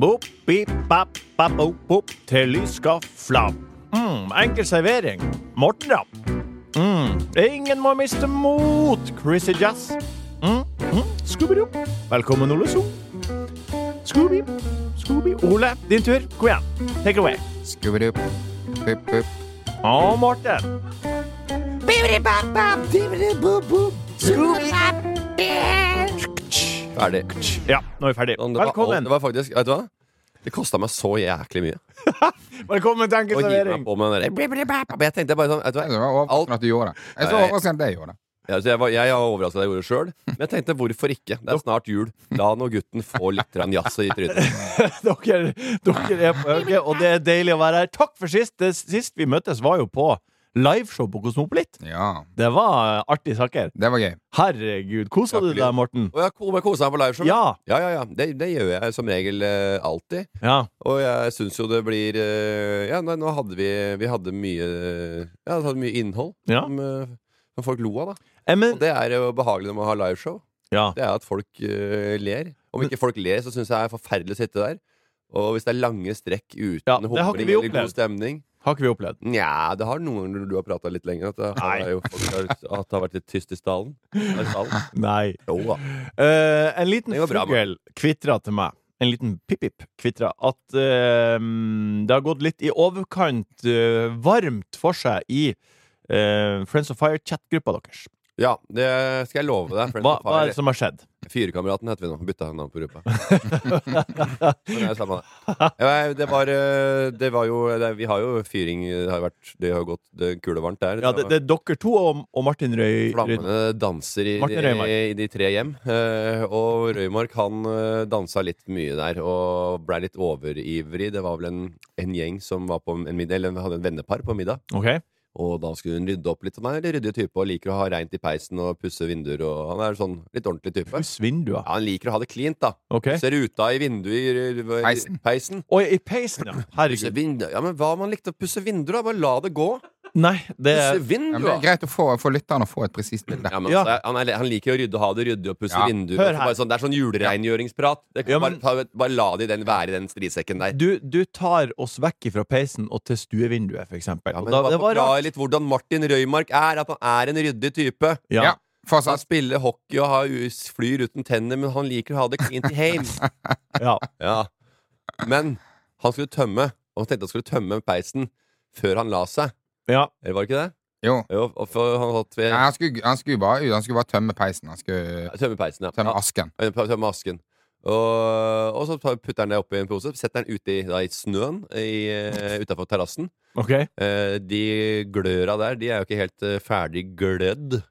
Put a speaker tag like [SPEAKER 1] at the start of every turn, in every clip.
[SPEAKER 1] Bopp, bip, bap, bap, bop, bop, til lyska flam. Mm, enkel servering. Morten Rapp. Mm, ingen må miste mot, Chrissy Jazz. Mm, mm, Scooby-Doo. Velkommen, Ole So. Scooby, Scooby. Ole, din tur. Kom igjen. Take it away.
[SPEAKER 2] Scooby-Doo. Bup, bup.
[SPEAKER 1] Å, Morten.
[SPEAKER 3] Ferdig.
[SPEAKER 1] Ja, nå er vi ferdig.
[SPEAKER 3] Sånn, det var-
[SPEAKER 1] Velkommen.
[SPEAKER 3] Det var faktisk Vet du hva? Det kosta meg så jæklig mye
[SPEAKER 1] Velkommen til
[SPEAKER 3] å
[SPEAKER 1] enkel
[SPEAKER 3] hive meg
[SPEAKER 1] servering.
[SPEAKER 3] på med den der. Men Jeg tenkte bare sånn vet du
[SPEAKER 2] Jeg
[SPEAKER 3] hva?
[SPEAKER 2] var overrasket
[SPEAKER 3] Alt-
[SPEAKER 2] at du gjorde det. Jeg så
[SPEAKER 3] Nei.
[SPEAKER 2] overrasket at jeg gjorde det.
[SPEAKER 3] Ja, så Jeg var jeg var overrasket at jeg gjorde det sjøl, men jeg tenkte hvorfor ikke? Det er snart jul. La nå gutten få litt grann jazz i trynet.
[SPEAKER 1] dere, dere er på øket, og det er deilig å være her. Takk for sist. Det, sist vi møttes, var jo på liveshow på Kosmopolit.
[SPEAKER 2] Ja,
[SPEAKER 1] Det var artige saker.
[SPEAKER 2] det var gøy.
[SPEAKER 1] Herregud, kosa du deg, Morten?
[SPEAKER 3] Og jeg ko- jeg koser meg på liveshow.
[SPEAKER 1] Ja.
[SPEAKER 3] ja, ja. ja. Det, det gjør jeg som regel eh, alltid.
[SPEAKER 1] ja.
[SPEAKER 3] Og jeg syns jo det blir eh, Ja, nei, nå hadde vi Vi hadde mye Ja, det hadde mye innhold
[SPEAKER 1] Ja.
[SPEAKER 3] som, eh, som folk lo av, da.
[SPEAKER 1] Eh, Men,
[SPEAKER 3] Og det er jo behagelig når man har liveshow.
[SPEAKER 1] ja.
[SPEAKER 3] Det er at folk eh, ler. Om ikke folk ler, så syns jeg det er forferdelig å sitte der. Og hvis det er lange strekk uten
[SPEAKER 1] Ja, det har ikke
[SPEAKER 3] humring
[SPEAKER 1] vi
[SPEAKER 3] eller
[SPEAKER 1] opplevd.
[SPEAKER 3] god stemning
[SPEAKER 1] Har ikke vi opplevd.
[SPEAKER 3] Nja, det har noen ganger når du har prata litt lenger, at det har,
[SPEAKER 1] Nei.
[SPEAKER 3] jo folk har, at det har vært litt tyst i stallen. Nei, stallen.
[SPEAKER 1] Nei.
[SPEAKER 3] Jo da.
[SPEAKER 1] Eh, en liten
[SPEAKER 3] Det går bra,
[SPEAKER 1] fugl kvitra til meg. En liten pip-pip kvitra at eh, det har gått litt i overkant eh, varmt for seg i eh, Friends of Fire-chatgruppa deres.
[SPEAKER 3] Ja, det skal jeg love deg. Friends
[SPEAKER 1] Hva,
[SPEAKER 3] of
[SPEAKER 1] hva
[SPEAKER 3] Fire.
[SPEAKER 1] er det som har skjedd?
[SPEAKER 3] Fyrekameraten heter vi nå. Bytta navn på gruppa. Men det er jo samme det. Nei, Det var, eh, det var jo det, Vi har jo fyring. Det har jo vært Det har jo gått det er kulevarmt der.
[SPEAKER 1] Ja, det, det er dere to og, og Martin Røy. Røy-
[SPEAKER 3] Flammene danser i,
[SPEAKER 1] Martin Røymark.
[SPEAKER 3] i, i de tre hjem. eh, Og Røymark han eh, dansa litt mye der og blei litt overivrig. Det var vel en, en gjeng som var på en middag, eller hadde en vennepar på middag.
[SPEAKER 1] Ok.
[SPEAKER 3] Og da skulle hun rydde opp litt. Han er en ryddig type og liker å ha reint i peisen og pusse vinduer. Og han er sånn litt ordentlig type.
[SPEAKER 1] Puss vinduer.
[SPEAKER 3] Ja, han liker å ha det cleant, da.
[SPEAKER 1] Ok.
[SPEAKER 3] Pusse ruta i vinduet i
[SPEAKER 2] Peisen.
[SPEAKER 3] peisen. peisen.
[SPEAKER 1] Oi, i peisen, ja.
[SPEAKER 3] Pusse
[SPEAKER 1] Herregud.
[SPEAKER 3] vinduer. Ja, men hva om han likte å pusse vinduer, da? Bare la det gå.
[SPEAKER 1] Nei, det er
[SPEAKER 3] Pusse
[SPEAKER 2] Ja, men det er
[SPEAKER 3] vinduer!
[SPEAKER 2] greit å få, få lytteren å få et presist bilde.
[SPEAKER 3] Ja, men
[SPEAKER 1] Ja.
[SPEAKER 3] altså, han, er, han liker å rydde og ha det ryddig og pusse
[SPEAKER 2] Ja.
[SPEAKER 3] vinduer.
[SPEAKER 1] Hør
[SPEAKER 3] Så
[SPEAKER 1] her.
[SPEAKER 3] Bare sånn, det er sånn julereingjøringsprat. Det kan
[SPEAKER 1] Ja, men-
[SPEAKER 3] bare, ta, bare la det i den, være i den strisekken der.
[SPEAKER 1] du, du tar oss vekk fra peisen og til stuevinduet, for eksempel.
[SPEAKER 3] Ja,
[SPEAKER 1] Og
[SPEAKER 3] men
[SPEAKER 1] da,
[SPEAKER 3] bare
[SPEAKER 1] det var
[SPEAKER 3] forklare
[SPEAKER 1] rart.
[SPEAKER 3] litt hvordan Martin Røymark er. At han er en ryddig type.
[SPEAKER 1] Ja.
[SPEAKER 2] Ja,
[SPEAKER 3] Altså, Han
[SPEAKER 2] fortsatt.
[SPEAKER 3] spiller hockey og har, us- flyr uten tenner, men han liker å ha det clean to hame.
[SPEAKER 1] ja.
[SPEAKER 3] Ja. Men han skulle tømme, og han tenkte han skulle tømme peisen før han la seg.
[SPEAKER 1] ja.
[SPEAKER 3] Eh, Var det ikke det?
[SPEAKER 2] Jo.
[SPEAKER 3] Jo, og for han satt ved
[SPEAKER 2] Nei, han, skulle, han, skulle bare, ut, han skulle bare tømme peisen. Han skulle
[SPEAKER 3] Tømme peisen, ja.
[SPEAKER 2] tømme
[SPEAKER 3] ja.
[SPEAKER 2] asken.
[SPEAKER 3] eh, Tømme asken. Og, og så tar- putter han det oppi en pose, setter den ute i, da, i snøen utafor terrassen.
[SPEAKER 1] Ok.
[SPEAKER 3] Eh, de gløra der, de er jo ikke helt eh, ferdig glødd.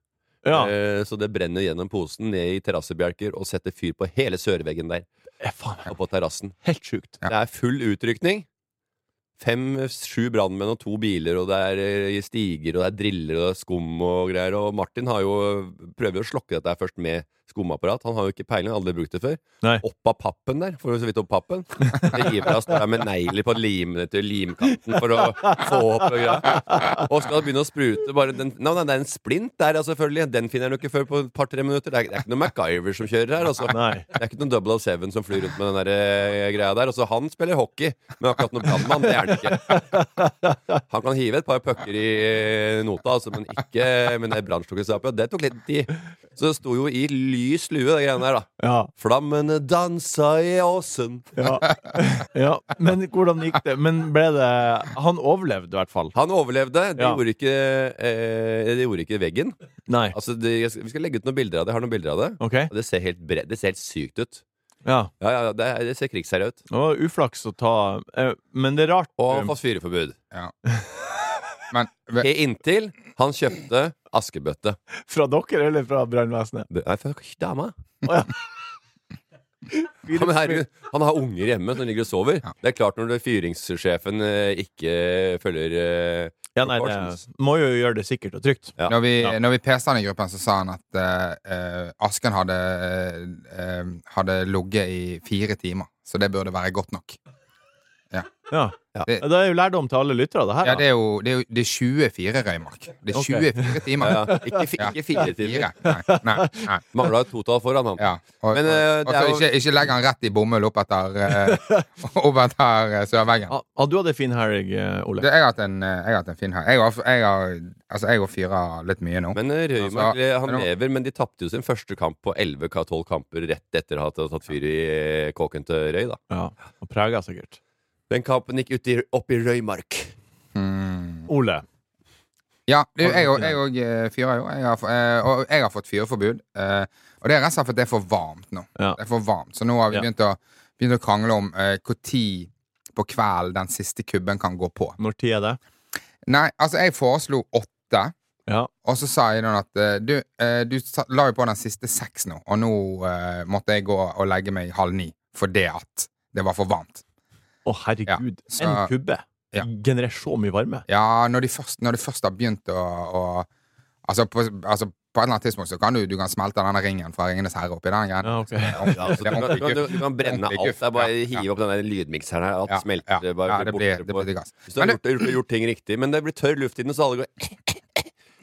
[SPEAKER 1] Ja.
[SPEAKER 3] Eh, så det brenner gjennom posen ned i terrassebjelker og setter fyr på hele sørveggen der.
[SPEAKER 1] Eh, faen,
[SPEAKER 3] Og på terrassen.
[SPEAKER 1] helt sjukt.
[SPEAKER 3] Det er full utrykning. Fem-sju brannmenn og to biler, og det er eh, stiger, og det er driller og det er skum og greier. Og Martin har jo prøver å slokke dette her først med skumapparat. Han har jo ikke peiling, aldri brukt det før.
[SPEAKER 1] Nei.
[SPEAKER 3] Opp av pappen der, for så vidt opp pappen. River av står der med negler på limene til limkanten for å få opp og greier. Og skal begynne å sprute bare den, Nei, nei, det er en splint der, ja, selvfølgelig. Den finner han jo ikke før på et par-tre minutter. Det er, det er ikke noe MacGyver som kjører her, altså.
[SPEAKER 1] Nei.
[SPEAKER 3] Det er ikke noen 007 som flyr rundt med den der, eh, greia der. Altså, han spiller hockey, men akkurat noen brannmann, det er han ikke. Han kan hive et par pucker i eh, nota, altså, men ikke med det brannslukkingsapet. Det tok litt tid. Så det sto jo i lys lue, det greiene der, da.
[SPEAKER 1] Ja.
[SPEAKER 3] Flammene dansa i åsen.
[SPEAKER 1] Ja. ja. Men hvordan gikk det? Men ble det Han overlevde, i hvert fall.
[SPEAKER 3] Han overlevde. Det
[SPEAKER 1] Ja.
[SPEAKER 3] gjorde ikke, eh, det gjorde ikke veggen.
[SPEAKER 1] Nei.
[SPEAKER 3] Altså, det, jeg skal- vi skal legge ut noen bilder av det. Jeg har noen bilder av det.
[SPEAKER 1] Ok.
[SPEAKER 3] Og det ser helt, bre det ser helt sykt ut.
[SPEAKER 1] Ja.
[SPEAKER 3] Ja, ja, ja, det, det ser krigsherre ut.
[SPEAKER 1] Det var uflaks å ta eh, Men det er rart. um,
[SPEAKER 3] Og han har fått fyreforbud.
[SPEAKER 2] Men ve-
[SPEAKER 3] Helt Inntil han kjøpte askebøtte.
[SPEAKER 1] Fra dere eller fra brannvesenet?
[SPEAKER 3] Nei, fuck dama.
[SPEAKER 1] Å, ja.
[SPEAKER 3] Ja, men herregud, han har unger hjemme som ligger og sover. Det er klart når det fyringssjefen eh, ikke følger eh,
[SPEAKER 1] Ja, nei, det må jo gjøre det sikkert og trygt.
[SPEAKER 3] Ja.
[SPEAKER 2] Når vi,
[SPEAKER 1] Ja.
[SPEAKER 2] når vi peste han i gruppen, så sa han at eh, eh, Asken hadde, eh, hadde ligget i fire timer. Så det burde være godt nok.
[SPEAKER 1] Ja.
[SPEAKER 3] Ja.
[SPEAKER 1] Det det er jo lærdom til alle lyttere, det her.
[SPEAKER 2] Ja,
[SPEAKER 1] da.
[SPEAKER 2] det er jo, det er jo det er 24 røymark. Det er
[SPEAKER 1] Ok.
[SPEAKER 2] 24 timer.
[SPEAKER 3] Ja, ja. Ikke, fi- ikke fire timer.
[SPEAKER 2] Fire. Nei, nei, nei.
[SPEAKER 3] Mangla et totall foran han.
[SPEAKER 2] Ja. Og,
[SPEAKER 3] Men, eh,
[SPEAKER 2] og, og
[SPEAKER 3] det er
[SPEAKER 2] så
[SPEAKER 3] jo-
[SPEAKER 2] ikke, ikke legg han rett i bomull opp etter, eh, opp etter eh, sørveggen.
[SPEAKER 1] Ja, ja, du hadde fin helg, eh,
[SPEAKER 2] Du,
[SPEAKER 1] Ole.
[SPEAKER 2] Jeg har hatt en, eh, jeg har hatt en fin helg. Jeg har, jeg har, altså, jeg har fyra litt mye nå.
[SPEAKER 3] Men eh, Røymark
[SPEAKER 2] Altså,
[SPEAKER 3] eh, han
[SPEAKER 2] men-
[SPEAKER 3] lever, men de tapte jo sin første kamp på 11-12 kamper rett etter at de hadde tatt fyr i eh, kåken til Røy. da
[SPEAKER 1] Ja, og prega sikkert.
[SPEAKER 3] Den kampen gikk ut i, opp i Røymark.
[SPEAKER 2] Mm.
[SPEAKER 1] Ole.
[SPEAKER 2] Ja, du,
[SPEAKER 1] Har du
[SPEAKER 2] jeg
[SPEAKER 1] fått
[SPEAKER 2] òg jeg og, eh, fyrer jo. Jeg har, f- eh, og jeg har fått fyreforbud. eh, Og det er rett og slett fordi det er for varmt nå.
[SPEAKER 1] Ja.
[SPEAKER 2] Det er for varmt, Så nå har vi
[SPEAKER 1] Ja.
[SPEAKER 2] begynt, å, begynt å krangle om når på kvelden den siste kubben kan gå på.
[SPEAKER 1] Når tid er det?
[SPEAKER 2] Nei, altså, jeg foreslo åtte.
[SPEAKER 1] Ja.
[SPEAKER 2] Og så sa jeg noen at eh, du, eh, du sa- la jo på den siste seks nå, og nå eh, måtte jeg gå og legge meg halv ni fordi at det var for varmt.
[SPEAKER 1] Å, herregud.
[SPEAKER 2] Ja, så-
[SPEAKER 1] En kubbe
[SPEAKER 2] Ja.
[SPEAKER 1] genererer så mye varme.
[SPEAKER 2] Ja, når de først, når de først har begynt å, å altså, på, altså, på et eller annet tidspunkt så kan du, du kan smelte denne ringen fra Ringenes herre oppi den greien.
[SPEAKER 1] Ja, ok.
[SPEAKER 3] Ja, altså, du, kan, du, kan, du kan brenne
[SPEAKER 2] Ordentlig
[SPEAKER 3] alt.
[SPEAKER 2] guff.
[SPEAKER 3] Det er bare
[SPEAKER 2] Ja,
[SPEAKER 3] hive
[SPEAKER 2] ja.
[SPEAKER 3] opp den der lydmikseren her. Alt
[SPEAKER 2] Ja,
[SPEAKER 3] smelter.
[SPEAKER 2] ja,
[SPEAKER 3] bare
[SPEAKER 2] ja, det
[SPEAKER 3] blir
[SPEAKER 2] blir,
[SPEAKER 3] borte
[SPEAKER 2] det
[SPEAKER 3] på-
[SPEAKER 2] blir digg, ass.
[SPEAKER 3] Hvis du har
[SPEAKER 2] Men det,
[SPEAKER 3] gjort, gjort, gjort ting riktig. Men det blir tørr luft i den, så alle går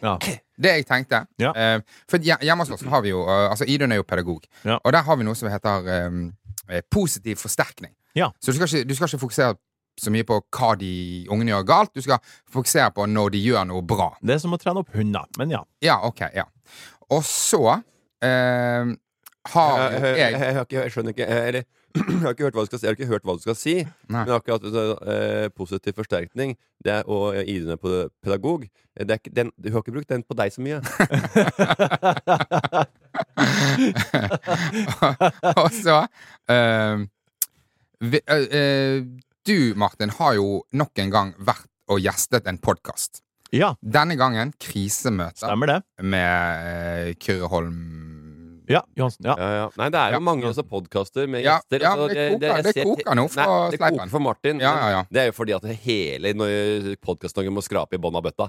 [SPEAKER 1] Ja.
[SPEAKER 2] det jeg tenkte
[SPEAKER 1] Ja.
[SPEAKER 2] eh, For hje- hjemme hos oss har vi jo eh, Altså, Idun er jo pedagog,
[SPEAKER 1] Ja.
[SPEAKER 2] og der har vi noe som heter eh, eh, positiv forsterkning.
[SPEAKER 1] Ja.
[SPEAKER 2] Så du skal, ikke, du skal ikke fokusere så mye på hva de ungene gjør galt, du skal fokusere på når de gjør noe bra.
[SPEAKER 1] Det er som å trene opp hunder, men ja.
[SPEAKER 2] Ja, ok, ja. Og så eh, har
[SPEAKER 3] jeg,
[SPEAKER 2] jo
[SPEAKER 3] jeg, jeg,
[SPEAKER 2] jeg
[SPEAKER 3] har ikke, jeg skjønner ikke eh, Eller jeg har ikke hørt hva du skal si. Jeg har ikke hørt hva du skal si
[SPEAKER 2] Nei.
[SPEAKER 3] Men akkurat eh, positiv forsterkning det er, og Idun er på- pedagog eh, det er ikke, den, Du har ikke brukt den på deg så mye.
[SPEAKER 2] Og så eh, vi, eh, eh, Du, Martin, har jo nok en gang vært og gjestet en podkast.
[SPEAKER 1] Ja,
[SPEAKER 2] Denne gangen krisemøter
[SPEAKER 1] stemmer det.
[SPEAKER 2] med eh, Kyrre Holm
[SPEAKER 1] Ja, Johansen. Ja.
[SPEAKER 3] Ja, ja. Nei, det er jo
[SPEAKER 2] Ja.
[SPEAKER 3] mange også podkaster med
[SPEAKER 2] Ja,
[SPEAKER 3] gjester.
[SPEAKER 2] ja,
[SPEAKER 3] altså,
[SPEAKER 2] men det koker-
[SPEAKER 3] jeg
[SPEAKER 2] det
[SPEAKER 3] ser-
[SPEAKER 2] koker nå fra
[SPEAKER 3] Nei, det
[SPEAKER 2] sleipen.
[SPEAKER 3] koker for Martin.
[SPEAKER 2] Ja,
[SPEAKER 3] men
[SPEAKER 2] ja, ja.
[SPEAKER 3] Det er jo fordi at hele Podkast-Norge må skrape i bånn av bøtta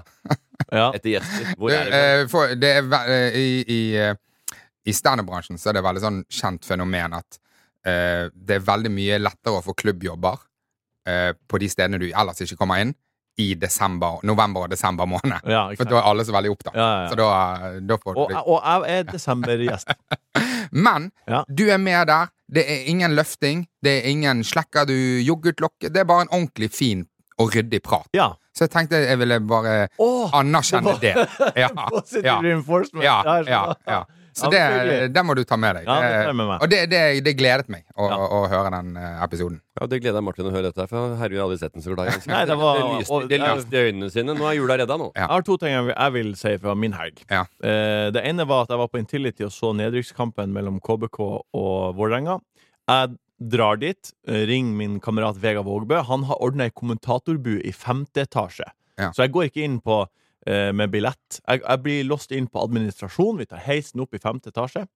[SPEAKER 1] ja.
[SPEAKER 3] etter gjester. Hvor
[SPEAKER 2] Du,
[SPEAKER 3] er det?
[SPEAKER 2] eh, for, det er, ve- eh, I i, eh, i standup-bransjen så er det veldig sånn kjent fenomen at eh, det er veldig mye lettere å få klubbjobber eh, på de stedene du ellers ikke kommer inn, i desember, november og desember måned.
[SPEAKER 1] ja ikke
[SPEAKER 2] For da
[SPEAKER 1] sant.
[SPEAKER 2] er alle så veldig opptatt.
[SPEAKER 1] Ja, ja, ja.
[SPEAKER 2] Så da, da får du
[SPEAKER 1] Og, og jeg er desembergjest.
[SPEAKER 2] Men
[SPEAKER 1] Ja.
[SPEAKER 2] du er med der. Det er ingen løfting. Det er ingen slekker du joggetlokket. Det er bare en ordentlig fin og ryddig prat.
[SPEAKER 1] Ja.
[SPEAKER 2] Så jeg tenkte jeg ville bare
[SPEAKER 1] Åh,
[SPEAKER 2] anerkjenne det.
[SPEAKER 1] det
[SPEAKER 2] Ja,
[SPEAKER 1] Positive
[SPEAKER 2] ja,
[SPEAKER 1] reinforcement.
[SPEAKER 2] ja,
[SPEAKER 1] jeg skjønner.
[SPEAKER 2] ja, ja. Så
[SPEAKER 1] Ja,
[SPEAKER 2] det,
[SPEAKER 1] hyggelig.
[SPEAKER 2] det må du ta med deg.
[SPEAKER 1] Ja, det tar jeg med meg.
[SPEAKER 2] Og det, det, det gledet meg å,
[SPEAKER 1] Ja.
[SPEAKER 2] å høre den eh, episoden.
[SPEAKER 3] Ja, det gleder jeg Martin å høre dette, her, for han- herregud, jeg har aldri sett den så glad. i ansiktet.
[SPEAKER 1] Nei, det var-
[SPEAKER 3] det lyste,
[SPEAKER 1] og-
[SPEAKER 3] det lyste i øynene sine. Nå er jula redda nå.
[SPEAKER 2] Ja.
[SPEAKER 1] Jeg har to ting jeg vil, jeg vil si fra min helg.
[SPEAKER 2] Ja.
[SPEAKER 1] Eh, det ene var at jeg var på Intility og så nedrykkskampen mellom KBK og Vålerenga. Jeg drar dit, eh, ring min kamerat Vega Vågbø. Han har ordna ei kommentatorbu i femte etasje.
[SPEAKER 2] Ja.
[SPEAKER 1] Så jeg går ikke inn på eh, med billett. Jeg, jeg blir låst inn på administrasjon. Vi tar heisen opp i femte etasje.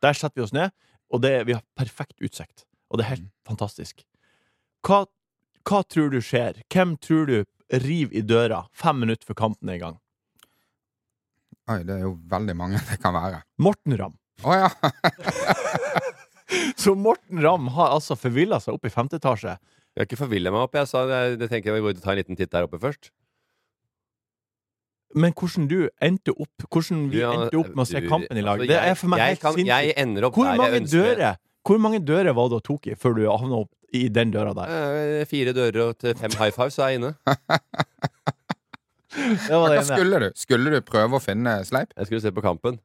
[SPEAKER 1] Der setter vi oss ned, og det, vi har perfekt utsikt. Og det er
[SPEAKER 2] Mm.
[SPEAKER 1] helt fantastisk. Hva, hva tror du skjer? Hvem tror du river i døra fem minutter før kampen er i gang?
[SPEAKER 2] Oi, det er jo veldig mange det kan være.
[SPEAKER 1] Morten Ramm.
[SPEAKER 2] Å ja.
[SPEAKER 1] Så Morten Ramm har altså forvilla seg opp i femte etasje.
[SPEAKER 3] Jeg har ikke forvilla meg opp. Jeg sa jeg, det tenker jeg vi går ut og tar en liten titt der oppe først.
[SPEAKER 1] Men hvordan du endte opp Hvordan vi
[SPEAKER 3] Du, ja,
[SPEAKER 1] endte opp med å se
[SPEAKER 3] du,
[SPEAKER 1] kampen i lag,
[SPEAKER 3] altså,
[SPEAKER 1] det
[SPEAKER 3] jeg-
[SPEAKER 1] er for meg
[SPEAKER 3] jeg
[SPEAKER 1] helt
[SPEAKER 3] kan- Jeg
[SPEAKER 1] sinnssykt.
[SPEAKER 3] ender opp
[SPEAKER 1] Hvor
[SPEAKER 3] der
[SPEAKER 1] mange
[SPEAKER 3] jeg ønsker.
[SPEAKER 1] dører Hvor mange dører var det du tok i før du havna opp i den døra der?
[SPEAKER 3] Eh, Fire dører og til fem high five, så er jeg inne.
[SPEAKER 1] Det var
[SPEAKER 2] Hva
[SPEAKER 1] det ene.
[SPEAKER 2] skulle du? Skulle du prøve å finne sleip?
[SPEAKER 3] Jeg skulle se på kampen.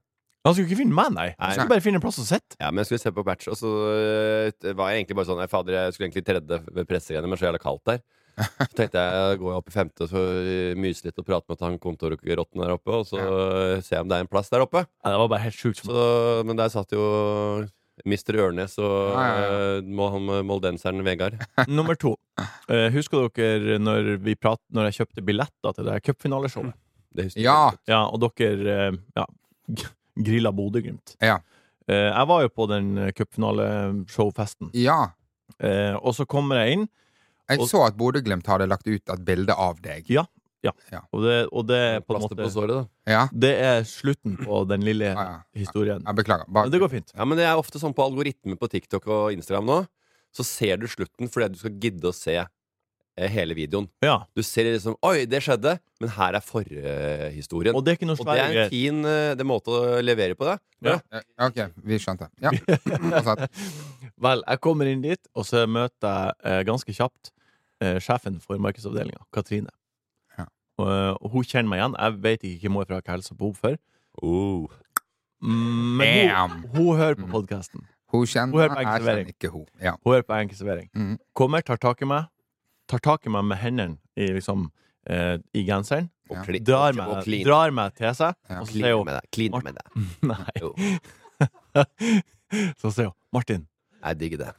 [SPEAKER 1] Han skulle ikke finne meg, nei. Han skulle bare finne en plass å sitte.
[SPEAKER 3] Ja, men jeg skulle se på match, og så eh, det var jeg egentlig bare sånn Nei, fader, jeg skulle egentlig i tredje ved pressegreiene, men så er det kaldt der. Så tenkte jeg går jeg opp i femte og så eh, myser litt og prater med han kontorrotten der oppe, og så eh, ser jeg om det er en plass der oppe.
[SPEAKER 1] Ja, det var bare helt sjukt. for meg.
[SPEAKER 3] Så, men der satt jo Mr. Ørnes og
[SPEAKER 2] Ja, ja,
[SPEAKER 3] eh, må- han moldenseren Vegard.
[SPEAKER 1] Nummer to. Eh, husker dere når, vi prat, når jeg kjøpte billetter til det her cupfinaleshowet?
[SPEAKER 3] Det husker jeg.
[SPEAKER 2] Ja.
[SPEAKER 1] Ja, og dere eh, ja, grilla Bodø-Glimt.
[SPEAKER 2] Ja.
[SPEAKER 1] Eh, jeg var jo på den eh, cupfinaleshowfesten,
[SPEAKER 2] Ja.
[SPEAKER 1] eh, og så kommer jeg inn,
[SPEAKER 2] Jeg
[SPEAKER 1] Og-
[SPEAKER 2] så at Bodø-Glimt hadde lagt ut et bilde av deg.
[SPEAKER 1] og det, og det er Eh, på en
[SPEAKER 3] Plaster
[SPEAKER 1] måte
[SPEAKER 3] på såret, da.
[SPEAKER 2] Ja?
[SPEAKER 1] Det er slutten på den lille
[SPEAKER 2] Ah, ja.
[SPEAKER 1] historien.
[SPEAKER 2] Jeg beklager.
[SPEAKER 1] Men det
[SPEAKER 2] Bare,
[SPEAKER 1] går fint.
[SPEAKER 3] Ja, men det er ofte sånn på algoritme på TikTok og Instagram nå, så ser du slutten fordi at du skal gidde å se eh, hele videoen.
[SPEAKER 1] Ja.
[SPEAKER 3] Du ser liksom Oi, det skjedde, men her er forhistorien.
[SPEAKER 1] Og det er ikke noe
[SPEAKER 3] Og det
[SPEAKER 1] svære
[SPEAKER 3] er en
[SPEAKER 1] greier.
[SPEAKER 3] fin eh, det er en måte å levere på det.
[SPEAKER 1] Ja.
[SPEAKER 2] Eh, OK, vi skjønte. Ja. Altså,
[SPEAKER 1] Vel, jeg kommer inn dit, og så møter jeg eh, ganske kjapt eh, sjefen for markedsavdelinga, Katrine.
[SPEAKER 2] Ja.
[SPEAKER 1] Og, eh, og hun kjenner meg igjen. Jeg vet ikke hvem hun er fra, hva jeg har helse på henne for.
[SPEAKER 3] Oh.
[SPEAKER 1] Mm, Men hun,
[SPEAKER 2] Damn!
[SPEAKER 1] hun hører på
[SPEAKER 2] Mm.
[SPEAKER 1] podkasten.
[SPEAKER 2] Hun kjenner
[SPEAKER 1] Hun er på
[SPEAKER 2] jeg
[SPEAKER 1] ekservering.
[SPEAKER 2] kjenner ikke hun. Ja.
[SPEAKER 1] Hun hører på Enkel servering.
[SPEAKER 3] Mm.
[SPEAKER 2] Mhm.
[SPEAKER 1] Kommer, tar tak i meg. Tar tak i meg med hendene i, liksom, eh, i genseren.
[SPEAKER 3] Og
[SPEAKER 2] Ja.
[SPEAKER 3] kli-
[SPEAKER 1] Drar
[SPEAKER 3] og
[SPEAKER 1] meg,
[SPEAKER 3] clean.
[SPEAKER 1] drar meg til seg.
[SPEAKER 2] Ja.
[SPEAKER 1] Og så sier
[SPEAKER 3] Kline
[SPEAKER 1] hun
[SPEAKER 3] med deg. Kline med deg.
[SPEAKER 1] Nei.
[SPEAKER 3] Jo.
[SPEAKER 1] Så sier hun Martin.
[SPEAKER 3] Jeg digger det.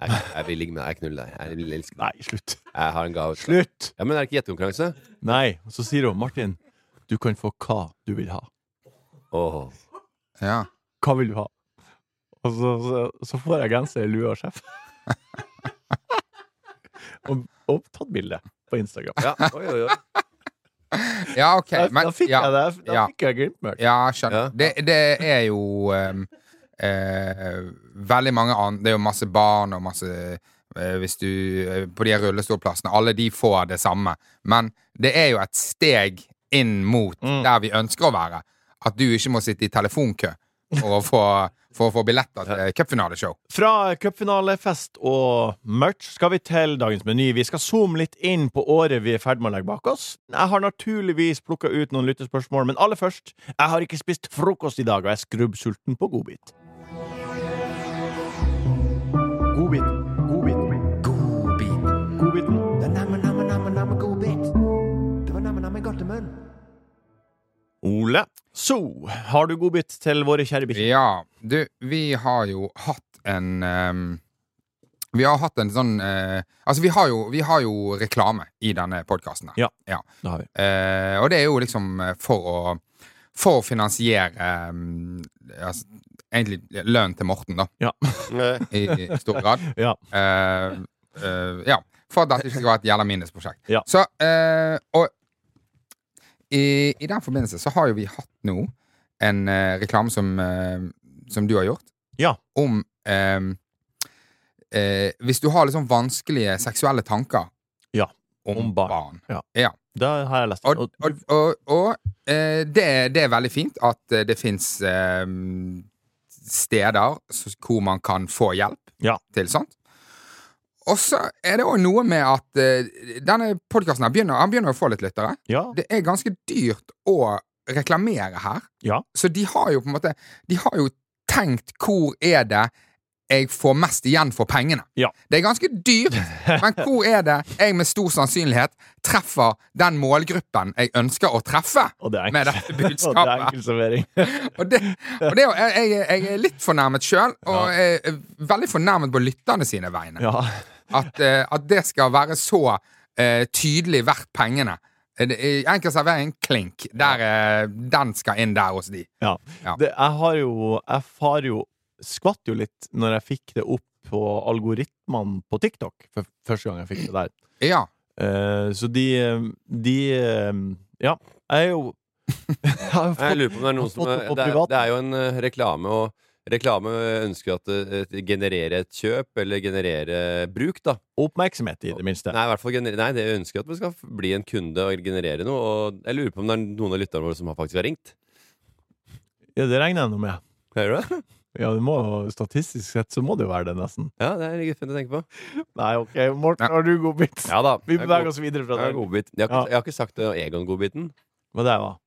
[SPEAKER 3] Jeg, jeg vil ligge med deg. Jeg knuller deg. Jeg, vil elske deg.
[SPEAKER 1] Nei, slutt.
[SPEAKER 3] jeg har en gave. til deg.
[SPEAKER 1] Slutt!
[SPEAKER 3] Ja, men er det ikke gjettekonkurranse?
[SPEAKER 1] Nei. Og så sier hun Martin, du kan få hva du vil ha.
[SPEAKER 3] Åh
[SPEAKER 2] ja.
[SPEAKER 1] Hva vil du ha? Og så, så, så får jeg genser, lue og sjef. og, og tatt bilde på Instagram.
[SPEAKER 3] Ja, oi, oi, oi.
[SPEAKER 2] ja, OK.
[SPEAKER 1] Da-
[SPEAKER 2] Men
[SPEAKER 1] da fikk
[SPEAKER 2] ja.
[SPEAKER 1] jeg det. Da
[SPEAKER 2] ja.
[SPEAKER 1] fikk jeg glimtmørkt.
[SPEAKER 2] Ja,
[SPEAKER 3] Ja.
[SPEAKER 2] skjønner. Det, det er jo ehm, eh, veldig mange andre Det er jo masse barn og masse eh, hvis du, eh, På de her rullestolplassene. Alle de får det samme. Men det er jo et steg inn mot
[SPEAKER 1] Mm.
[SPEAKER 2] der vi ønsker å være. At du ikke må sitte i telefonkø for å få, for å få billetter til cupfinaleshow.
[SPEAKER 1] Fra cupfinalefest og merch skal vi til dagens meny. Vi skal zoome litt inn på året vi er i ferd med å legge bak oss. Jeg har naturligvis plukka ut noen lyttespørsmål, men aller først Jeg har ikke spist frokost i dag, og jeg er skrubbsulten på godbit. Godbit, godbit, godbiten. Ole, så har du godbit til våre kjære bikkjer.
[SPEAKER 2] Ja, du, vi har jo hatt en ehm, Vi har hatt en sånn eh, Altså, vi har, jo, vi har jo reklame i denne podkasten.
[SPEAKER 1] Ja. Det har vi.
[SPEAKER 2] Eh, og det er jo liksom eh, for å, for å finansiere eh, altså, Egentlig lønnen til Morten, da,
[SPEAKER 3] Eh,
[SPEAKER 2] i, i stor grad.
[SPEAKER 1] Ja.
[SPEAKER 2] Eh, eh, ja. For at dette ikke skal være et jævla minusprosjekt.
[SPEAKER 1] Ja.
[SPEAKER 2] Så, eh, og i, i den forbindelse så har jo vi hatt nå en eh, reklame som, eh, som du har gjort,
[SPEAKER 1] Ja.
[SPEAKER 2] om eh, eh, Hvis du har litt sånn vanskelige seksuelle tanker
[SPEAKER 1] Ja,
[SPEAKER 2] om,
[SPEAKER 1] om barn.
[SPEAKER 2] barn.
[SPEAKER 1] Da har jeg lest
[SPEAKER 2] Og,
[SPEAKER 1] og-
[SPEAKER 2] og, og, og eh, det, det er veldig fint at eh, det fins eh, steder s- hvor man kan få hjelp
[SPEAKER 1] Ja.
[SPEAKER 2] til sånt. Og så er det òg noe med at eh, denne podkasten begynner, han begynner å få litt lyttere.
[SPEAKER 1] Ja.
[SPEAKER 2] Det er ganske dyrt å reklamere her.
[SPEAKER 1] Ja.
[SPEAKER 2] Så de har jo på en måte De har jo tenkt hvor er det jeg får mest igjen for pengene.
[SPEAKER 1] Ja.
[SPEAKER 2] Det er ganske dyrt, men hvor er det jeg med stor sannsynlighet treffer den målgruppen jeg ønsker å treffe?
[SPEAKER 1] Og det er
[SPEAKER 2] Med dette budskapet.
[SPEAKER 1] Og det er enkel servering.
[SPEAKER 2] Og det, og det er jo, jeg, jeg, jeg er litt fornærmet sjøl, og jeg er veldig fornærmet på lytterne sine vegne.
[SPEAKER 1] Ja.
[SPEAKER 2] At, eh, at det skal være så eh, tydelig verdt pengene. Eh, det- eh, Enkel servering, klink. Der, eh, den skal inn der hos de.
[SPEAKER 1] Ja.
[SPEAKER 2] Ja.
[SPEAKER 1] Det, jeg har jo Jeg far jo skvatt jo litt når jeg fikk det opp på algoritmene på TikTok. For første gang jeg fikk det der.
[SPEAKER 2] Ja.
[SPEAKER 1] Eh, så de eh, De eh, Ja, jeg er jo jeg har
[SPEAKER 3] Jeg
[SPEAKER 1] fått,
[SPEAKER 3] lurer på om det er noen som
[SPEAKER 1] Fått det
[SPEAKER 3] eh,
[SPEAKER 1] på
[SPEAKER 3] Det er,
[SPEAKER 1] privat.
[SPEAKER 3] det er jo en eh, reklame, og reklame ønsker jo at det eh, genererer et kjøp, eller genererer bruk, da.
[SPEAKER 1] oppmerksomhet, i det minste.
[SPEAKER 3] Nei, i hvert fall gener nei, det ønsker at vi skal bli en kunde og generere noe. Og jeg lurer på om det er noen av lytterne våre som har faktisk har ringt.
[SPEAKER 1] Ja, det regner jeg nå med.
[SPEAKER 3] Hører du det?
[SPEAKER 1] Ja, det må, jo- statistisk sett så må det jo være det, nesten.
[SPEAKER 3] Ja, det er litt fint å tenke på.
[SPEAKER 1] Nei, OK, Morten, har du godbit?
[SPEAKER 3] Ja da.
[SPEAKER 1] Vi beveger oss videre fra
[SPEAKER 3] Jeg, er
[SPEAKER 1] det.
[SPEAKER 3] godbit. jeg,
[SPEAKER 1] Ja.
[SPEAKER 3] har ikke, jeg har ikke sagt det, Egon-godbiten.
[SPEAKER 1] Hva det var?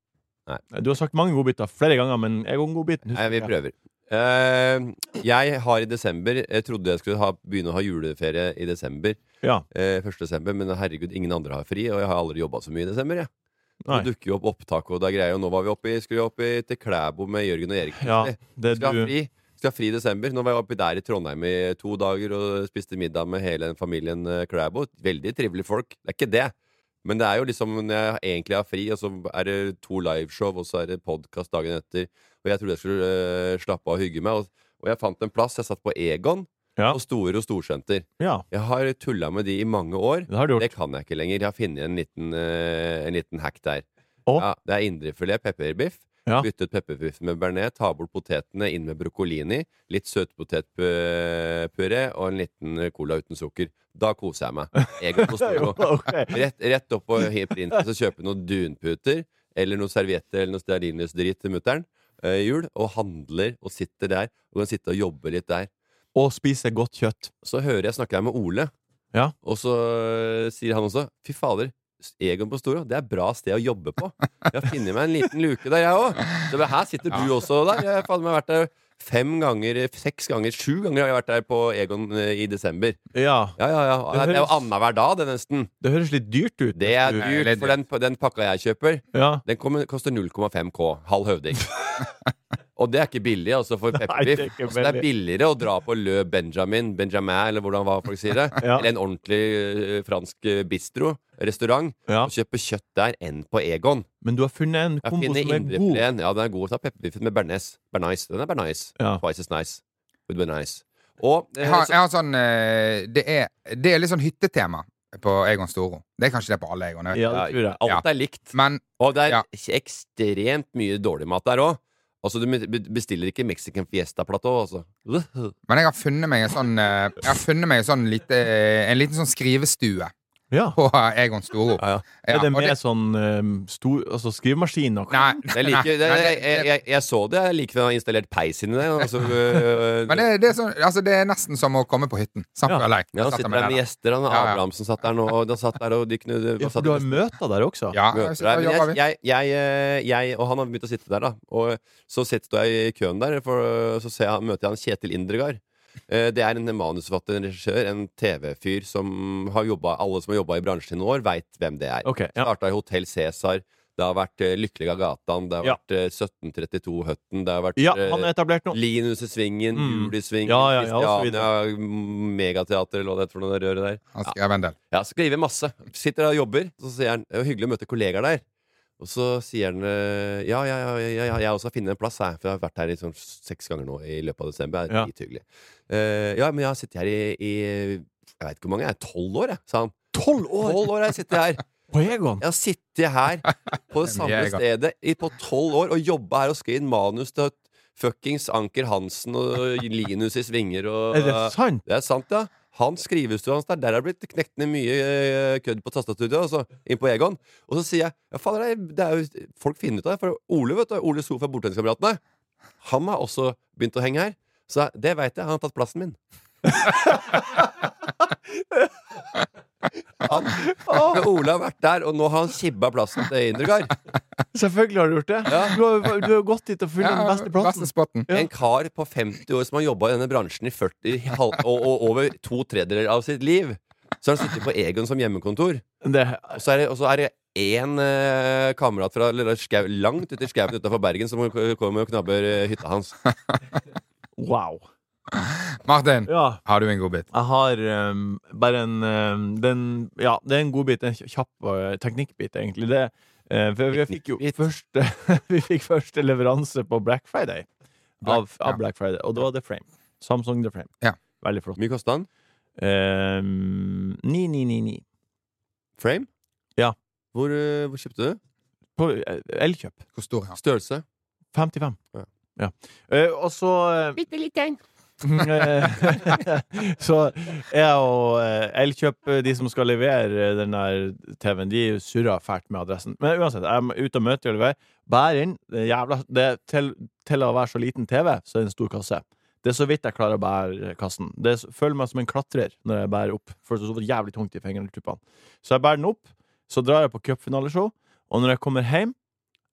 [SPEAKER 3] Nei.
[SPEAKER 1] Du har sagt mange godbiter flere ganger, men jeg går godbiten.
[SPEAKER 3] Nei, vi prøver. Eh, jeg har i desember Jeg trodde jeg skulle ha, begynne å ha juleferie i desember.
[SPEAKER 1] Ja.
[SPEAKER 3] eh, 1. desember, men herregud, ingen andre har fri, og jeg har aldri jobba så mye i desember. Jeg. Nå
[SPEAKER 1] Nei.
[SPEAKER 3] dukker jo opp opptak, og det er greier. Og nå var vi oppe, i- skulle vi opp i, til Klæbo med Jørgen og Erik.
[SPEAKER 1] Ja, det
[SPEAKER 3] Skal ha
[SPEAKER 1] du
[SPEAKER 3] fri. Skal ha fri i desember. Nå var jeg oppe der i Trondheim i to dager og spiste middag med hele familien eh, Klæbo. Veldig trivelige folk. Det er ikke det. Men det er jo liksom når jeg egentlig har fri, og så er det to liveshow, og så er det podkast dagen etter. Og jeg trodde jeg skulle eh, slappe av og hygge meg. Og, og jeg fant en plass. Jeg satt på Egon
[SPEAKER 1] Ja.
[SPEAKER 3] på Store og Storsenter.
[SPEAKER 1] ja.
[SPEAKER 3] Jeg har tulla med de i mange år.
[SPEAKER 1] Det har du gjort.
[SPEAKER 3] Det kan jeg ikke lenger. Jeg har funnet en liten, eh, en liten hack der.
[SPEAKER 1] Å?
[SPEAKER 3] Ja, det er indrefilet pepperbiff.
[SPEAKER 1] Ja.
[SPEAKER 3] Bytte ut pepperbiffen med bearnés, ta bort potetene, inn med brokkolini, litt søtpotetpuré og en liten cola uten sukker. Da koser jeg meg. Egon på Storo.
[SPEAKER 1] Ok.
[SPEAKER 3] Rett, rett opp på printen så kjøpe noen dunputer eller noen servietter eller noe stearinlysdrit til mutter'n eh, i jul, og handler og sitter der. Og kan sitte og jobbe litt der.
[SPEAKER 1] Og spise godt kjøtt.
[SPEAKER 3] Så hører jeg snakker jeg med Ole,
[SPEAKER 1] Ja.
[SPEAKER 3] og så øh, sier han også Fy fader, Egon på Storo, det er bra sted å jobbe på. Jeg har funnet meg en liten luke der, jeg òg. Så bare, her sitter du også der. Jeg har faen meg vært der fem ganger, seks ganger, sju ganger har jeg vært der på Egon øh, i desember.
[SPEAKER 1] Ja.
[SPEAKER 3] Ja, ja, ja.
[SPEAKER 1] Det
[SPEAKER 3] Det er jo
[SPEAKER 1] høres-
[SPEAKER 3] annenhver dag, det, nesten.
[SPEAKER 1] Det høres litt dyrt ut.
[SPEAKER 3] Det er
[SPEAKER 2] Det er
[SPEAKER 3] dyrt,
[SPEAKER 2] litt
[SPEAKER 3] for den, den pakka jeg kjøper,
[SPEAKER 1] Ja.
[SPEAKER 3] den kommer, koster 0,5 K. Halv høvding. Og det er ikke billig altså for
[SPEAKER 1] Nei, det
[SPEAKER 3] pepperbiff.
[SPEAKER 1] er ikke
[SPEAKER 3] Altså, det er billigere å dra på Le Benjamin, Benjamin eller hvordan hva folk sier det,
[SPEAKER 1] Ja.
[SPEAKER 3] eller en ordentlig eh, fransk eh, bistro, restaurant,
[SPEAKER 1] Ja.
[SPEAKER 3] og kjøpe kjøtt der enn på Egon.
[SPEAKER 1] Men du har funnet en
[SPEAKER 3] Jeg
[SPEAKER 1] kombo
[SPEAKER 3] finner
[SPEAKER 1] som er god.
[SPEAKER 3] indrefileten. Ja, den er god. Ta pepperbiffen med bearnés. Bernice. Den er bearnés.
[SPEAKER 1] Ja.
[SPEAKER 3] Twice is nice. With bearnés. Og eh,
[SPEAKER 2] Jeg har,
[SPEAKER 3] så,
[SPEAKER 2] jeg har sånn eh, det er, det er litt sånn hyttetema på Egon Storo. Det er kanskje det på alle Egon. jeg vet
[SPEAKER 1] Ja, det tror jeg.
[SPEAKER 2] Ja.
[SPEAKER 3] alt er likt.
[SPEAKER 2] ikke. Men
[SPEAKER 3] Og det er
[SPEAKER 2] Ja.
[SPEAKER 3] ekstremt mye dårlig mat der òg. Altså, du be- bestiller ikke Mexican Fiesta-platå, altså.
[SPEAKER 2] Men jeg har funnet meg en sånn, eh, jeg har funnet meg en sånn lite, eh, en liten sånn skrivestue
[SPEAKER 1] Ja.
[SPEAKER 2] på eh, Egon Storo.
[SPEAKER 3] Ja, ja.
[SPEAKER 2] Ja,
[SPEAKER 1] Er det
[SPEAKER 2] og
[SPEAKER 1] med sånn eh, stor altså skrivemaskin og
[SPEAKER 2] Nei,
[SPEAKER 3] Jeg, liker, det,
[SPEAKER 2] nei,
[SPEAKER 3] jeg,
[SPEAKER 2] det-
[SPEAKER 3] jeg, jeg, jeg så det. Jeg liker at han har installert peis inni der. Altså, øh,
[SPEAKER 2] Men det, det, er sånn, altså, det er nesten som å komme på hytten. Altså, Samt
[SPEAKER 1] Ja.
[SPEAKER 2] føler jeg.
[SPEAKER 3] ja, han
[SPEAKER 2] Satt
[SPEAKER 3] sitter
[SPEAKER 2] med
[SPEAKER 3] der med
[SPEAKER 2] det
[SPEAKER 3] gjester. Han,
[SPEAKER 2] Ja, ja.
[SPEAKER 3] Abrahamsen satt der nå. Og de satt der og de kunne,
[SPEAKER 1] Ja,
[SPEAKER 3] han
[SPEAKER 1] for
[SPEAKER 3] satt
[SPEAKER 1] du
[SPEAKER 3] og
[SPEAKER 1] har møter der også?
[SPEAKER 2] Ja, jeg
[SPEAKER 3] møter
[SPEAKER 2] sitter
[SPEAKER 3] der.
[SPEAKER 2] og
[SPEAKER 3] Men
[SPEAKER 2] jobber
[SPEAKER 3] jeg,
[SPEAKER 2] vi.
[SPEAKER 3] jeg, jeg, eh, jeg og han har begynt å sitte der, da. Og så sitter- står jeg i køen der, for øh, så ser jeg, møter jeg han Kjetil Indregard. Eh, Det er en manusforfatter, en regissør, en TV-fyr som har jobba Alle som har jobba i bransjen i noen år, veit hvem det er.
[SPEAKER 1] Ok, ja.
[SPEAKER 3] Starta i Hotell Cæsar. Det har vært eh, Lykkelige gatan, det har
[SPEAKER 1] Ja.
[SPEAKER 3] vært eh, 1732 Høtten, det har vært
[SPEAKER 1] ja,
[SPEAKER 3] eh,
[SPEAKER 1] han er etablert nå.
[SPEAKER 3] Linus i Svingen,
[SPEAKER 1] Mm.
[SPEAKER 3] Jul i Svingen,
[SPEAKER 1] Ja, ja, ja, og så
[SPEAKER 3] Kristiania, m- Megateater eller hva det heter for noe det røret der.
[SPEAKER 2] Han skrev en del.
[SPEAKER 3] Ja, skriver masse. Sitter der og jobber, så sier han Det var hyggelig å møte kollegaer der. Og så sier han eh, Ja, ja, ja, ja, ja jeg også har funnet en plass, jeg. For jeg har vært her i sånn seks ganger nå i løpet av desember. Det
[SPEAKER 1] Ja.
[SPEAKER 3] er drithyggelig. Eh, ja, men jeg har sittet her i, i Jeg veit ikke hvor mange, jeg er tolv år, jeg, sa han.
[SPEAKER 1] Tolv år
[SPEAKER 3] Tolv år har jeg sittet her!
[SPEAKER 1] på Egon!
[SPEAKER 3] Jeg har sittet her på det
[SPEAKER 2] Jeg
[SPEAKER 3] samme
[SPEAKER 2] er i gang.
[SPEAKER 3] stedet i, på tolv år og jobba her og skrevet manus til fuckings Anker Hansen og Linus i Svinger og
[SPEAKER 1] Er det sant?
[SPEAKER 3] Det er sant, ja. Han skrivestua hans der. Der har det blitt knekt ned mye eh, kødd på tastaturet. Altså, inn på Egon. Og så sier jeg ja, faen, det er, det er jo, folk finner ut av det. For Ole vet du, Ole So fra Bordtenniskameratene Han har også begynt å henge her. Så det veit jeg. Han har tatt plassen min. Han, men Ole har vært der, og nå har han kibba plassen til Indregard.
[SPEAKER 1] Selvfølgelig har du gjort det. Du, har, du har gått dit og funnet den beste plassen.
[SPEAKER 2] spotten.
[SPEAKER 1] Ja.
[SPEAKER 3] En kar på 50 år som har jobba i denne bransjen i 40, i halv, og, og over to tredjedeler av sitt liv. Så har han sittet på Egon som hjemmekontor.
[SPEAKER 1] Det,
[SPEAKER 3] Og så er det, og så er det én eh, kamerat fra eller, skau, langt ute i skauen utafor Bergen som k- kommer og knabber eh, hytta hans.
[SPEAKER 1] wow.
[SPEAKER 2] Martin,
[SPEAKER 1] Ja.
[SPEAKER 2] har du en god bit?
[SPEAKER 1] Jeg har ehm, bare en ehm, den, Ja, det er en god bit. En kjapp eh, teknikkbit, egentlig. Det, eh, for vi fikk jo første, vi fikk første leveranse på Black Friday. Av,
[SPEAKER 2] Black- ja.
[SPEAKER 1] av Black Friday. Og det var The Frame. Samsung The Frame.
[SPEAKER 2] Ja.
[SPEAKER 1] Veldig flott.
[SPEAKER 3] Hvor mye kosta han?
[SPEAKER 1] Ehm, 9999.
[SPEAKER 3] Frame?
[SPEAKER 1] Ja.
[SPEAKER 3] Hvor, eh, hvor kjøpte du?
[SPEAKER 1] På eh, Elkjøp.
[SPEAKER 2] Hvor stor er han?
[SPEAKER 3] Størrelse?
[SPEAKER 1] 55.
[SPEAKER 3] Ja.
[SPEAKER 1] Ja. Eh, og så Bitte liten. så jeg og eh, Elkjøp, eh, de som skal levere eh, den der TV-en, de surrer fælt med adressen. Men uansett, jeg er ute og møter og leverer. Bærer inn det er jævla det, er til, til å være så liten TV, så er det en stor kasse. Det er så vidt jeg klarer å bære kassen. Det er s- føler meg som en klatrer når jeg bærer opp. For det er så jævlig tungt i fingrene. og tuppene. Så jeg bærer den opp, så drar jeg på cupfinaleshow, og når jeg kommer hjem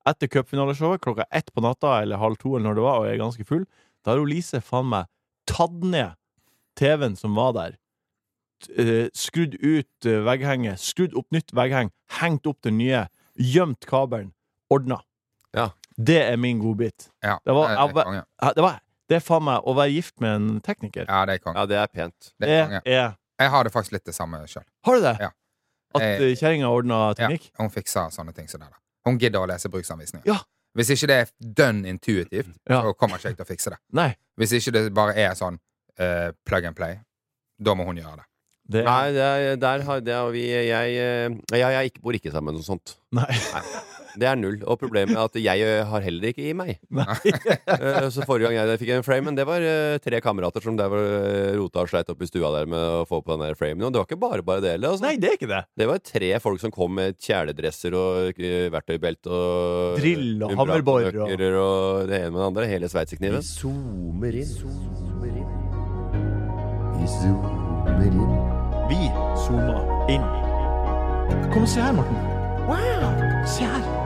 [SPEAKER 1] etter cupfinaleshowet klokka ett på natta eller halv to, eller når det var, og jeg er ganske full, da har hun Lise faen meg tatt ned TV-en som var der. T- eh, skrudd ut eh, vegghenget, skrudd opp nytt veggheng, hengt opp det nye, gjemt kabelen, ordna.
[SPEAKER 3] Ja.
[SPEAKER 1] Det er min godbit.
[SPEAKER 2] Ja,
[SPEAKER 1] Det var-
[SPEAKER 2] er
[SPEAKER 1] jeg var-
[SPEAKER 2] konge.
[SPEAKER 1] Ja, Det, var, det er faen meg å være gift med en tekniker.
[SPEAKER 2] Ja, det er konge.
[SPEAKER 3] Ja, det er pent.
[SPEAKER 2] Det
[SPEAKER 1] det
[SPEAKER 2] er
[SPEAKER 1] er,
[SPEAKER 2] konge. Jeg har det faktisk litt det samme sjøl.
[SPEAKER 1] Har du det?
[SPEAKER 2] Ja.
[SPEAKER 1] At eh, kjerringa ordna
[SPEAKER 2] Ja,
[SPEAKER 1] teknikk?
[SPEAKER 2] hun fikser sånne ting som det der. Hun gidder å lese bruksanvisninger.
[SPEAKER 1] Ja. Mm,
[SPEAKER 2] Hvis ikke det er dønn intuitivt,
[SPEAKER 1] Ja.
[SPEAKER 2] så kommer ikke jeg til å fikse det.
[SPEAKER 1] Nei.
[SPEAKER 2] Hvis ikke det bare er sånn eh, plug and play, da må hun gjøre det.
[SPEAKER 1] Det,
[SPEAKER 3] Nei, det er, der har, det har vi Jeg, eh, jeg, jeg ikke, bor ikke sammen med noe sånt.
[SPEAKER 1] Nei.
[SPEAKER 3] Det er null. Og problemet er at jeg eh, har heller ikke i meg. Eh, Så forrige gang jeg fikk en frame, men det var eh, tre kamerater som der var eh, rota og sleit opp i stua der med å få på den der framen. Og det var ikke bare bare det heller. Altså.
[SPEAKER 1] Nei, det er ikke det.
[SPEAKER 3] Det var tre folk som kom med kjeledresser og eh, verktøybelte og
[SPEAKER 1] Drill og hammerborer og-
[SPEAKER 3] og... og det ene med det andre. Hele sveitserkniven.
[SPEAKER 4] zoomer inn. Zoomer inn. Vi zoomer inn.
[SPEAKER 1] Vi zoomer inn. Kom og se her, Morten. Wow! Se her.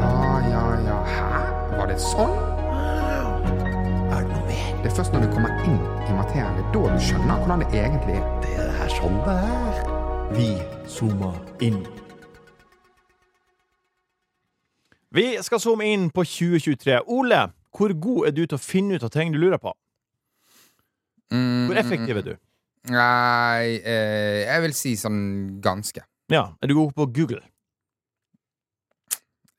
[SPEAKER 2] Ja, ja, ja. Hæ? Var det sånn?
[SPEAKER 4] Er det noe mer?
[SPEAKER 2] Det er først når du kommer inn i materien, det er da du skjønner hvordan det egentlig er.
[SPEAKER 4] Det er det her sånn det er.
[SPEAKER 1] Vi zoomer inn. Vi skal zoome inn på 2023. Ole, hvor god er du til å finne ut av ting du lurer på? Hvor effektiv er du?
[SPEAKER 2] Mm, Nei, eh, jeg vil si sånn ganske.
[SPEAKER 1] Ja, Er du god på Google?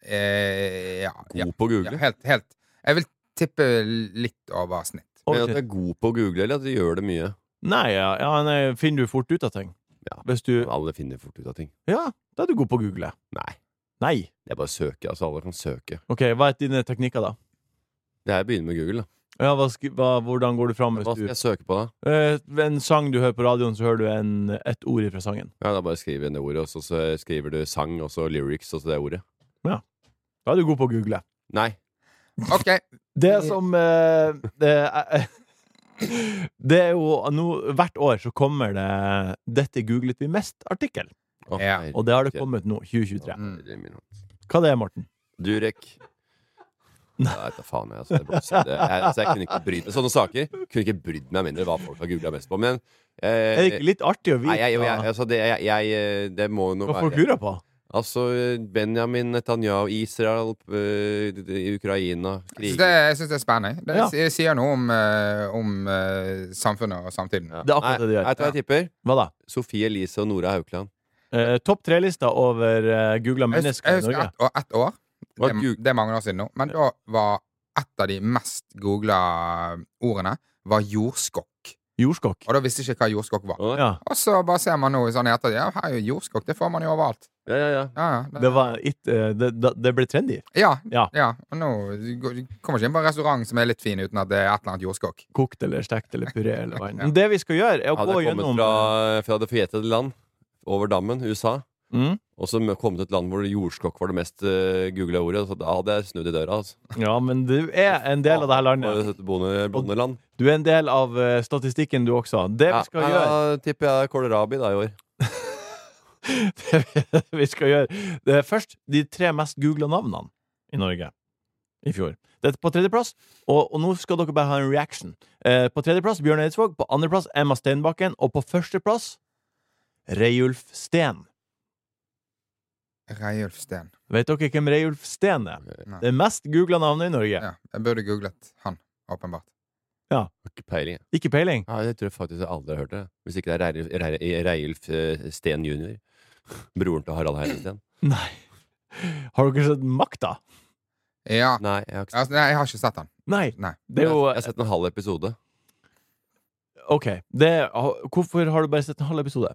[SPEAKER 2] Eh, ja. ja.
[SPEAKER 3] God på å
[SPEAKER 2] ja
[SPEAKER 3] google.
[SPEAKER 2] helt, helt. Jeg vil tippe litt over snitt.
[SPEAKER 3] Men at du er god på å google, eller at du gjør det mye.
[SPEAKER 1] Nei, ja, ja, nei, finner du fort ut av ting?
[SPEAKER 3] Ja.
[SPEAKER 1] Hvis du
[SPEAKER 3] Alle finner fort ut av ting.
[SPEAKER 1] Ja, da er du god på å google.
[SPEAKER 3] Nei.
[SPEAKER 1] Nei.
[SPEAKER 3] Det er bare å søke. Altså, alle kan søke.
[SPEAKER 1] OK, hva er dine teknikker, da?
[SPEAKER 3] Det her begynner med Google. da
[SPEAKER 1] Ja, hva, sk- hva, hvordan går du fram hvis
[SPEAKER 3] Hva skal
[SPEAKER 1] du
[SPEAKER 3] jeg søke på, da?
[SPEAKER 1] Eh, En sang du hører på radioen, så hører du en, et ord fra sangen.
[SPEAKER 3] Ja, Da bare skriver jeg det ordet, og så- så skriver du sang, og så lyrics, og så det ordet.
[SPEAKER 1] Da er du god på å google.
[SPEAKER 3] Nei.
[SPEAKER 2] OK.
[SPEAKER 1] Det som eh, det, er, det er jo nå, Hvert år så kommer det 'Dette googlet vi mest'-artikkel.
[SPEAKER 3] Å,
[SPEAKER 2] Ja.
[SPEAKER 3] herregud.
[SPEAKER 1] Og det har det kommet nå, 2023.
[SPEAKER 2] Mm.
[SPEAKER 1] Hva det er Morten?
[SPEAKER 3] Durek. Nei, da faen jeg, altså, det ble, så- det, jeg, altså, jeg kunne ikke brydd meg Sånne saker kunne ikke brydd meg mindre hva folk har googla mest på. Men eh,
[SPEAKER 1] Er det ikke litt artig å
[SPEAKER 3] Nei,
[SPEAKER 1] vite
[SPEAKER 3] jeg, jeg,
[SPEAKER 1] hva-
[SPEAKER 3] altså, det, jeg, jeg eh, Det må jo noe
[SPEAKER 1] hva folk
[SPEAKER 3] være
[SPEAKER 1] lurer på?
[SPEAKER 3] Altså, Benjamin Netanyahu, Israel, eh, d- d- Ukraina
[SPEAKER 2] Så
[SPEAKER 3] krig.
[SPEAKER 2] det, jeg syns det er spennende. Det
[SPEAKER 1] Ja.
[SPEAKER 2] s- sier noe om, eh, om eh, samfunnet og samtiden.
[SPEAKER 3] Ja.
[SPEAKER 1] Det er akkurat det det gjør.
[SPEAKER 3] Nei, vet du hva jeg tipper?
[SPEAKER 1] Hva da?
[SPEAKER 3] Sofie Elise og Nora Haukeland.
[SPEAKER 1] Eh, Topp tre-lista over uh, googla
[SPEAKER 2] Jeg husker,
[SPEAKER 1] mennesker
[SPEAKER 2] jeg
[SPEAKER 1] i
[SPEAKER 2] husker
[SPEAKER 1] Norge.
[SPEAKER 2] ett og- ett år.
[SPEAKER 3] Hva
[SPEAKER 2] Det,
[SPEAKER 3] Gug-
[SPEAKER 2] det er mange år siden nå. Men da var et av de mest googla eh, ordene var jordskokk.
[SPEAKER 1] Jordskokk.
[SPEAKER 2] Og da visste jeg ikke hva jordskokk var.
[SPEAKER 3] Å, nei.
[SPEAKER 1] Ja.
[SPEAKER 2] Og så bare ser man nå i sånn i ettertid Ja, her er jo jordskokk. Det får man jo overalt.
[SPEAKER 3] Ja, ja, ja.
[SPEAKER 2] Ja, ja.
[SPEAKER 1] Det, var it, eh, det, da- det ble trendy.
[SPEAKER 2] Ja.
[SPEAKER 1] Ja.
[SPEAKER 2] ja. Og nå du går- du kommer ikke inn på en restaurant som er litt fin uten at det er et eller annet jordskokk.
[SPEAKER 1] Kokt eller stekt eller puré eller vann.
[SPEAKER 2] Ja.
[SPEAKER 1] Det vi skal gjøre, er å
[SPEAKER 3] Hadde
[SPEAKER 1] gå
[SPEAKER 3] jeg kommet
[SPEAKER 1] gjennom
[SPEAKER 3] fra, fra det forjettede land, over dammen, USA,
[SPEAKER 1] mm?
[SPEAKER 3] og så mø- kommet til et land hvor jordskokk var det mest uh, googla ordet, så da hadde jeg snudd i døra. altså
[SPEAKER 1] Ja, men du er en del av det her landet.
[SPEAKER 3] Bare sett bonde, bondeland.
[SPEAKER 1] Du er en del av eh, statistikken, du også. Det vi
[SPEAKER 3] Ja,
[SPEAKER 1] skal
[SPEAKER 3] nei,
[SPEAKER 1] gjøre,
[SPEAKER 3] Da tipper jeg det er kålrabi da i år.
[SPEAKER 1] det vi skal gjøre det er Først de tre mest googla navnene i Norge i fjor. Det er på tredjeplass, og, og nå skal dere bare ha en reaction. Eh, på tredjeplass Bjørn Eidsvåg, på andreplass Emma Steinbakken, og på førsteplass Reiulf Steen.
[SPEAKER 2] Reiulf Steen.
[SPEAKER 1] Vet dere hvem Reiulf Steen er?
[SPEAKER 2] Nei.
[SPEAKER 1] Det mest googla navnet i Norge.
[SPEAKER 2] Ja. Jeg burde googlet han, åpenbart.
[SPEAKER 3] Har Ikke peiling. jeg.
[SPEAKER 1] Ikke peiling.
[SPEAKER 3] Ja, det tror jeg faktisk jeg aldri har hørt det. Hvis ikke det er Reilf- Reil- Reilf eh, Steen jr. Broren til Harald Heidesteen.
[SPEAKER 1] Nei. Har dere sett Makta?
[SPEAKER 2] Ja.
[SPEAKER 3] Nei, jeg har ikke sett
[SPEAKER 2] Altså, nei, jeg har ikke sett han.
[SPEAKER 1] Nei.
[SPEAKER 2] Nei.
[SPEAKER 1] Det er jo
[SPEAKER 3] Jeg har sett en halv episode.
[SPEAKER 1] OK. Det, hvorfor har du bare sett en halv episode?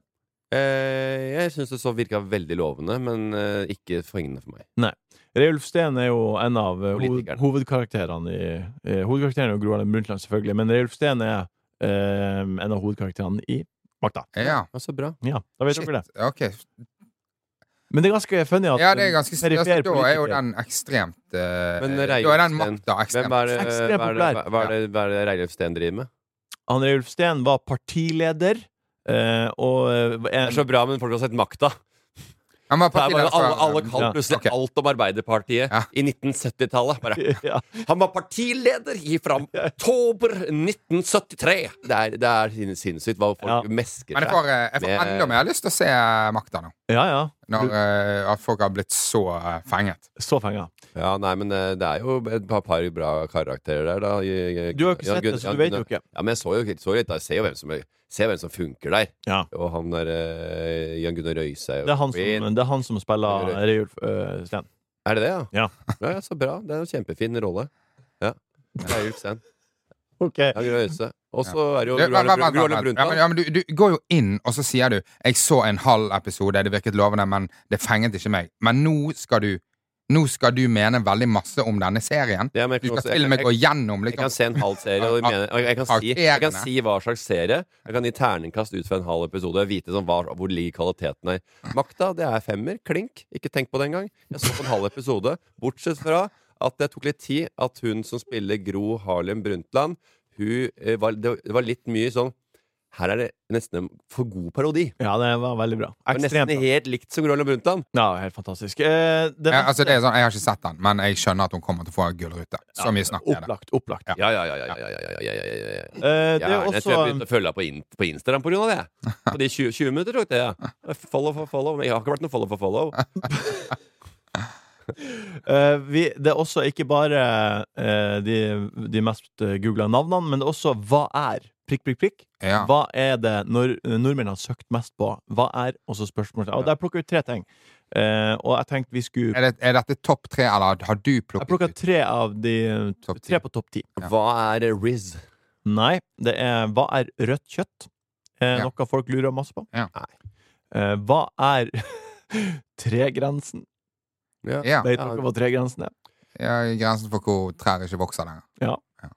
[SPEAKER 3] Eh, jeg syns det så virka veldig lovende, men eh, ikke fengende for meg.
[SPEAKER 1] Reulf Steen er jo en av eh, hoved,
[SPEAKER 3] Politikeren.
[SPEAKER 1] hovedkarakterene i eh, Hovedkarakteren er jo Gro Harlem Brundtland, selvfølgelig, men Reulf Steen er eh, en av hovedkarakterene i Makta.
[SPEAKER 2] Ja.
[SPEAKER 3] Ja, så bra.
[SPEAKER 1] Ja, da vet
[SPEAKER 2] Shit.
[SPEAKER 1] dere det.
[SPEAKER 2] Ok.
[SPEAKER 1] Men det er ganske funny at
[SPEAKER 2] Ja, det er
[SPEAKER 1] en
[SPEAKER 2] ganske s-
[SPEAKER 1] perifer
[SPEAKER 2] altså, Da er jo
[SPEAKER 1] politiker-
[SPEAKER 2] den ekstremt eh,
[SPEAKER 3] Men
[SPEAKER 2] Da
[SPEAKER 3] Reiulf
[SPEAKER 2] er den
[SPEAKER 3] Steen,
[SPEAKER 2] makta
[SPEAKER 3] Hvem
[SPEAKER 2] ekstremt.
[SPEAKER 3] er det,
[SPEAKER 1] Ekstremt
[SPEAKER 3] hva er det, hva er det, hva er det Reilf Steen driver med?
[SPEAKER 1] Han Reulf Steen var partileder, eh, og eh, en,
[SPEAKER 3] Det
[SPEAKER 2] Altså-
[SPEAKER 3] er så bra, men folk har sett makta.
[SPEAKER 2] Han var
[SPEAKER 3] Det er
[SPEAKER 2] partileder
[SPEAKER 3] bare, alle, alle
[SPEAKER 2] for-
[SPEAKER 3] kan plutselig
[SPEAKER 2] Ok.
[SPEAKER 3] alt om Arbeiderpartiet
[SPEAKER 2] Ja.
[SPEAKER 3] i 1970-tallet. Bare,
[SPEAKER 1] ja,
[SPEAKER 3] Han var partileder i fra oktober 1973! Det er, det er sin- sinnssykt hva folk
[SPEAKER 1] Ja.
[SPEAKER 3] mesker
[SPEAKER 2] Men jeg
[SPEAKER 3] seg.
[SPEAKER 2] får, eh, jeg får
[SPEAKER 3] Med-
[SPEAKER 2] enda mer lyst til å se eh, makta nå.
[SPEAKER 1] ja, ja.
[SPEAKER 2] Når eh, at folk har blitt så eh, fenget.
[SPEAKER 1] Så fenga.
[SPEAKER 3] Ja, nei, men eh, det er jo et par, par bra karakterer der, da. I- i-
[SPEAKER 1] Du har jo ikke
[SPEAKER 3] Jan
[SPEAKER 1] sett
[SPEAKER 3] Gunn-
[SPEAKER 1] det, så
[SPEAKER 3] Jan
[SPEAKER 1] du vet
[SPEAKER 3] Gunnar-
[SPEAKER 1] jo ikke.
[SPEAKER 3] Ja, men jeg så jo litt, så litt da. Jeg ser jo hvem som, er- ser hvem som funker der.
[SPEAKER 1] Ja.
[SPEAKER 3] Og han der eh, Jan Gunnar Røise er jo
[SPEAKER 1] Det er han
[SPEAKER 3] fin.
[SPEAKER 1] som, det er han som spiller Reulf eh, Steen.
[SPEAKER 3] Er det det, ja?
[SPEAKER 1] Ja.
[SPEAKER 3] ja, ja, så bra. Det er en kjempefin rolle. Ja. Det er Ulf Sehn.
[SPEAKER 1] Ok.
[SPEAKER 3] Ja, Gro Øyse. Og så er det jo
[SPEAKER 2] Du,
[SPEAKER 3] Gro
[SPEAKER 2] vent,
[SPEAKER 3] Harlem Brun-
[SPEAKER 2] vent,
[SPEAKER 3] Gro Harlem
[SPEAKER 2] vent, vent. Ja, men, ja,
[SPEAKER 3] Brundtland.
[SPEAKER 2] men du, du går jo inn, og så sier du 'Jeg så en halv episode, det virket lovende, men det fenget ikke meg'. Men nå skal du Nå skal du mene veldig masse om denne serien.
[SPEAKER 3] Ja, men jeg
[SPEAKER 2] Du
[SPEAKER 3] kan også-
[SPEAKER 2] skal
[SPEAKER 3] jeg-
[SPEAKER 2] til og med
[SPEAKER 3] jeg-
[SPEAKER 2] gå gjennom
[SPEAKER 3] Jeg kan
[SPEAKER 2] liksom.
[SPEAKER 3] se en halv serie, og jeg, mener, og jeg, kan si, jeg kan
[SPEAKER 2] Karakterene.
[SPEAKER 3] si hva slags serie. Jeg kan gi terningkast ut fra en halv episode. og Vite sånn hva, hvor ligger kvaliteten her. Makta, det er femmer. Klink. Ikke tenk på det engang. Jeg så på en halv episode. Bortsett fra at det tok litt tid at hun som spiller Gro Harlem Brundtland, hun eh, var, det, det var litt mye sånn Her er det nesten en for god parodi.
[SPEAKER 1] Ja, det var veldig bra.
[SPEAKER 3] Det var
[SPEAKER 1] Ekstremt
[SPEAKER 3] nesten
[SPEAKER 1] bra.
[SPEAKER 3] helt likt som Gro Harlem Brundtland.
[SPEAKER 1] Ja, helt fantastisk. Eh, det
[SPEAKER 2] Ja, altså, det er sånn, jeg har ikke sett den, men jeg skjønner at hun kommer til å få gullrute. Så mye snakk er det.
[SPEAKER 1] Opplagt. Opplagt.
[SPEAKER 3] Ja, ja, ja. ja, ja, ja, ja, ja, ja, ja.
[SPEAKER 1] Eh, det
[SPEAKER 3] Ja,
[SPEAKER 1] er
[SPEAKER 3] jeg tror jeg
[SPEAKER 1] også
[SPEAKER 3] begynte å følge deg på, in på Instagram på grunn av det. På de 20, 20 minutter tok det. ja. Follow for follow. Men jeg har ikke vært noe follow for follow.
[SPEAKER 1] Eh, vi, det er også ikke bare eh, de, de mest googla navnene, men det er også hva er prikk, prikk, prikk.
[SPEAKER 2] Ja.
[SPEAKER 1] Hva er det når, nordmenn har søkt mest på? Hva er Og så spørsmål. Og der plukker vi tre ting. Eh, og jeg tenkte vi skulle
[SPEAKER 2] Er, det, er dette topp tre, eller har du
[SPEAKER 1] Jeg
[SPEAKER 2] plukket
[SPEAKER 1] plukka
[SPEAKER 2] ut?
[SPEAKER 1] tre av de
[SPEAKER 2] Topp ti.
[SPEAKER 1] Tre på topp ti.
[SPEAKER 2] Ja.
[SPEAKER 3] Hva er Riz?
[SPEAKER 1] Nei, det er hva er rødt kjøtt? Eh,
[SPEAKER 2] Ja.
[SPEAKER 1] Noe folk lurer masse på.
[SPEAKER 2] Ja.
[SPEAKER 1] Nei. Eh, hva er tregrensen?
[SPEAKER 2] Ja,
[SPEAKER 1] Vet dere hva tregrensen er?
[SPEAKER 2] ja, grensen for hvor trær ikke vokser lenger.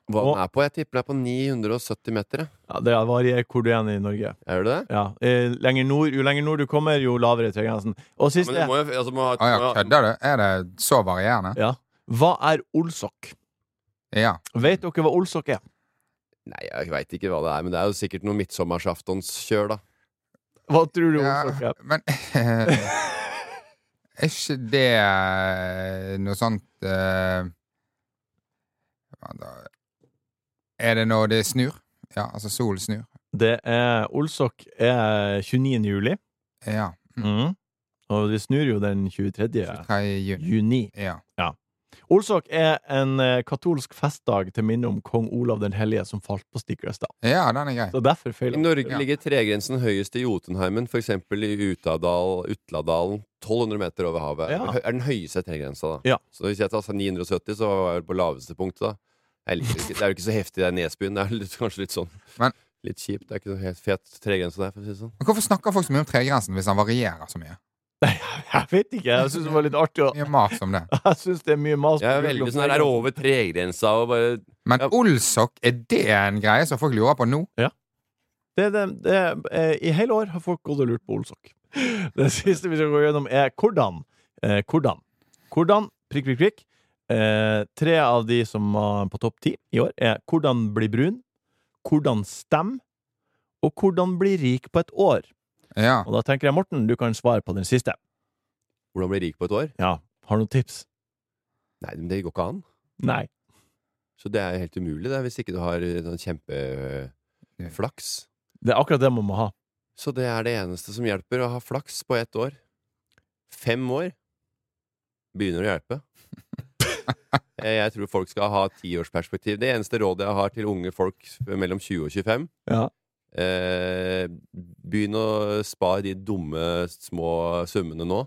[SPEAKER 3] Hva den er på? Jeg tipper den er på 970 meter. jeg.
[SPEAKER 1] Ja, det varierer hvor du er i Norge.
[SPEAKER 3] Er det det?
[SPEAKER 1] Ja, eh, lenger nord, Jo lenger nord du kommer, jo lavere tregrensen. Og
[SPEAKER 3] Ja,
[SPEAKER 1] siste
[SPEAKER 3] men det må jo altså, må, ha-
[SPEAKER 2] Å Ah, ja,
[SPEAKER 3] må ha-
[SPEAKER 2] kødder du? Er det så varierende?
[SPEAKER 1] ja. Hva er olsokk?
[SPEAKER 2] Ja.
[SPEAKER 1] Vet dere hva olsokk er?
[SPEAKER 3] Nei, jeg veit ikke hva det er, men det er jo sikkert noe midtsommersaftonskjør, da.
[SPEAKER 1] Hva tror du
[SPEAKER 2] Ja,
[SPEAKER 1] olsokk er?
[SPEAKER 2] men Er ikke det noe sånt eh, hva da? Er det når det snur? Ja, altså solen snur.
[SPEAKER 1] Det er Olsokk er 29. juli.
[SPEAKER 2] Ja. Mm.
[SPEAKER 1] Mhm. Og det snur jo den 23.
[SPEAKER 2] 23. juni.
[SPEAKER 1] juni.
[SPEAKER 2] Ja.
[SPEAKER 1] Olsok er en eh, katolsk festdag til minne om kong Olav den hellige som falt på Stiklestad.
[SPEAKER 2] ja, den er grei.
[SPEAKER 1] Så derfor
[SPEAKER 3] I
[SPEAKER 1] feiler
[SPEAKER 3] Norge
[SPEAKER 2] Ja.
[SPEAKER 3] ligger tregrensen høyest i Jotunheimen, f.eks. i Utadal, Utladalen. 1200 meter over havet.
[SPEAKER 1] Ja.
[SPEAKER 3] Er den høyeste tregrensa, da.
[SPEAKER 1] Ja.
[SPEAKER 3] Så hvis jeg tar sånn 970, så var jeg på laveste punktet, da. Jeg liker ikke, det er jo ikke så heftig, det er Nesbyen. Det er litt, kanskje litt sånn
[SPEAKER 2] Men-
[SPEAKER 3] Litt kjipt. Det er ikke noe helt fet tregrense der, for å si det sånn.
[SPEAKER 2] Men hvorfor snakker folk så mye om tregrensen hvis den varierer så mye?
[SPEAKER 1] Jeg vet ikke, jeg syns det var litt artig. å-
[SPEAKER 2] Mye mas om det.
[SPEAKER 1] Jeg synes det er mye mas. på
[SPEAKER 3] Jeg er
[SPEAKER 1] Google om
[SPEAKER 3] veldig sånn her, er det over tregrensa og bare
[SPEAKER 2] Men
[SPEAKER 3] Ja.
[SPEAKER 2] olsokk, er det en greie som folk lurer på nå?
[SPEAKER 1] Det, det, det, eh, I hele år har folk gått og lurt på Olsok. Det siste vi skal gå gjennom, er hvordan. Eh, hvordan? Hvordan, prikk, prikk, prikk. Eh, tre av de som var på topp ti i år, er hvordan bli brun, hvordan stemme, og hvordan bli rik på et år.
[SPEAKER 2] Ja.
[SPEAKER 1] Og da tenker jeg, Morten, du kan svare på den siste.
[SPEAKER 3] Hvordan bli rik på et år?
[SPEAKER 1] Ja, har du noen tips?
[SPEAKER 3] Nei, men det går ikke an.
[SPEAKER 1] Nei.
[SPEAKER 3] Så det er jo helt umulig, det, hvis ikke du har eh, sånn kjempeflaks.
[SPEAKER 1] Det er akkurat det man må ha.
[SPEAKER 3] Så det er det eneste som hjelper, å ha flaks på ett år. Fem år begynner å hjelpe. Eh, Jeg tror folk skal ha tiårsperspektiv. Det eneste rådet jeg har til unge folk mellom 20 og 25
[SPEAKER 1] Ja.
[SPEAKER 3] eh, Begynn å spare de dumme, små summene nå.